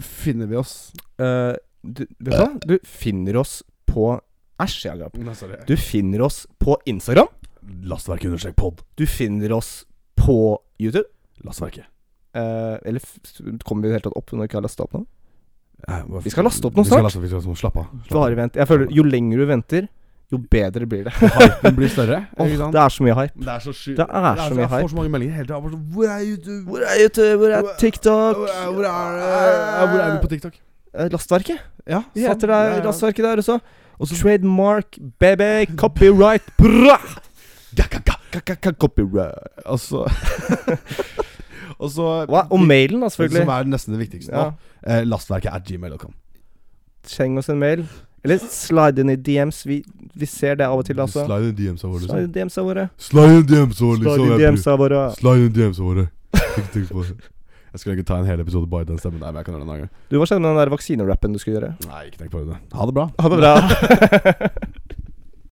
finner vi oss?
Eh, du, vet du hva? Du finner oss på Æsj, jeg gaper.
Nei, sorry.
Du finner oss på Instagram.
Lastverk understrek pod.
Du finner oss på YouTube.
Lastverket.
Eh, eller f kommer vi i det hele tatt opp når vi ikke har lasta opp nå?
Eh, hva-
Vi skal laste opp noe
Vi skal
snart.
laste opp, vi skal laste opp. Slapp av. Slapp av.
Bare vent. Jeg føler Jo lenger du venter, jo bedre blir det.
Hypen blir større.
Åh,
ikke sant?
det er så mye hype.
Det er så sjukt.
Det er så mye
Jeg får
hype.
så mange meldinger hele tida. Hvor er YouTube? Hvor
Hvor er YouTube? Hvor er TikTok?
Hvor er, hvor er, eh, hvor er vi på TikTok?
Eh, Lastverket.
Ja,
Satte
ja, ja.
deg lastverket der også.
Og så-
Trademark, baby. Copyright. Bra!
Ga, ga, ga.
Copyright.
Og så Og så
Hva? Og mailen, da,
Som
selvfølgelig.
er nesten det viktigste nå.
Ja.
Eh, lastverket er gmail.com.
Send oss en mail. Eller slide inn i DMs. Vi, vi ser det av og til, altså.
Slide in DMs-a våre,
Slide
liksom.
inn i DMs-a våre.
Slide in DMs-a våre,
Slide
liksom.
inn i
jeg bryr-
DMs-a våre.
Slide in DMs-a våre. Ikke tenk på det. Jeg skulle egentlig ta en hel episode bare i den stemmen. Nei, men jeg kan gjøre det en annen gang.
Du, hva skjedde med den der vaksinerappen du skulle gjøre?
Nei, ikke tenk på det. Ha det bra.
Ha det bra.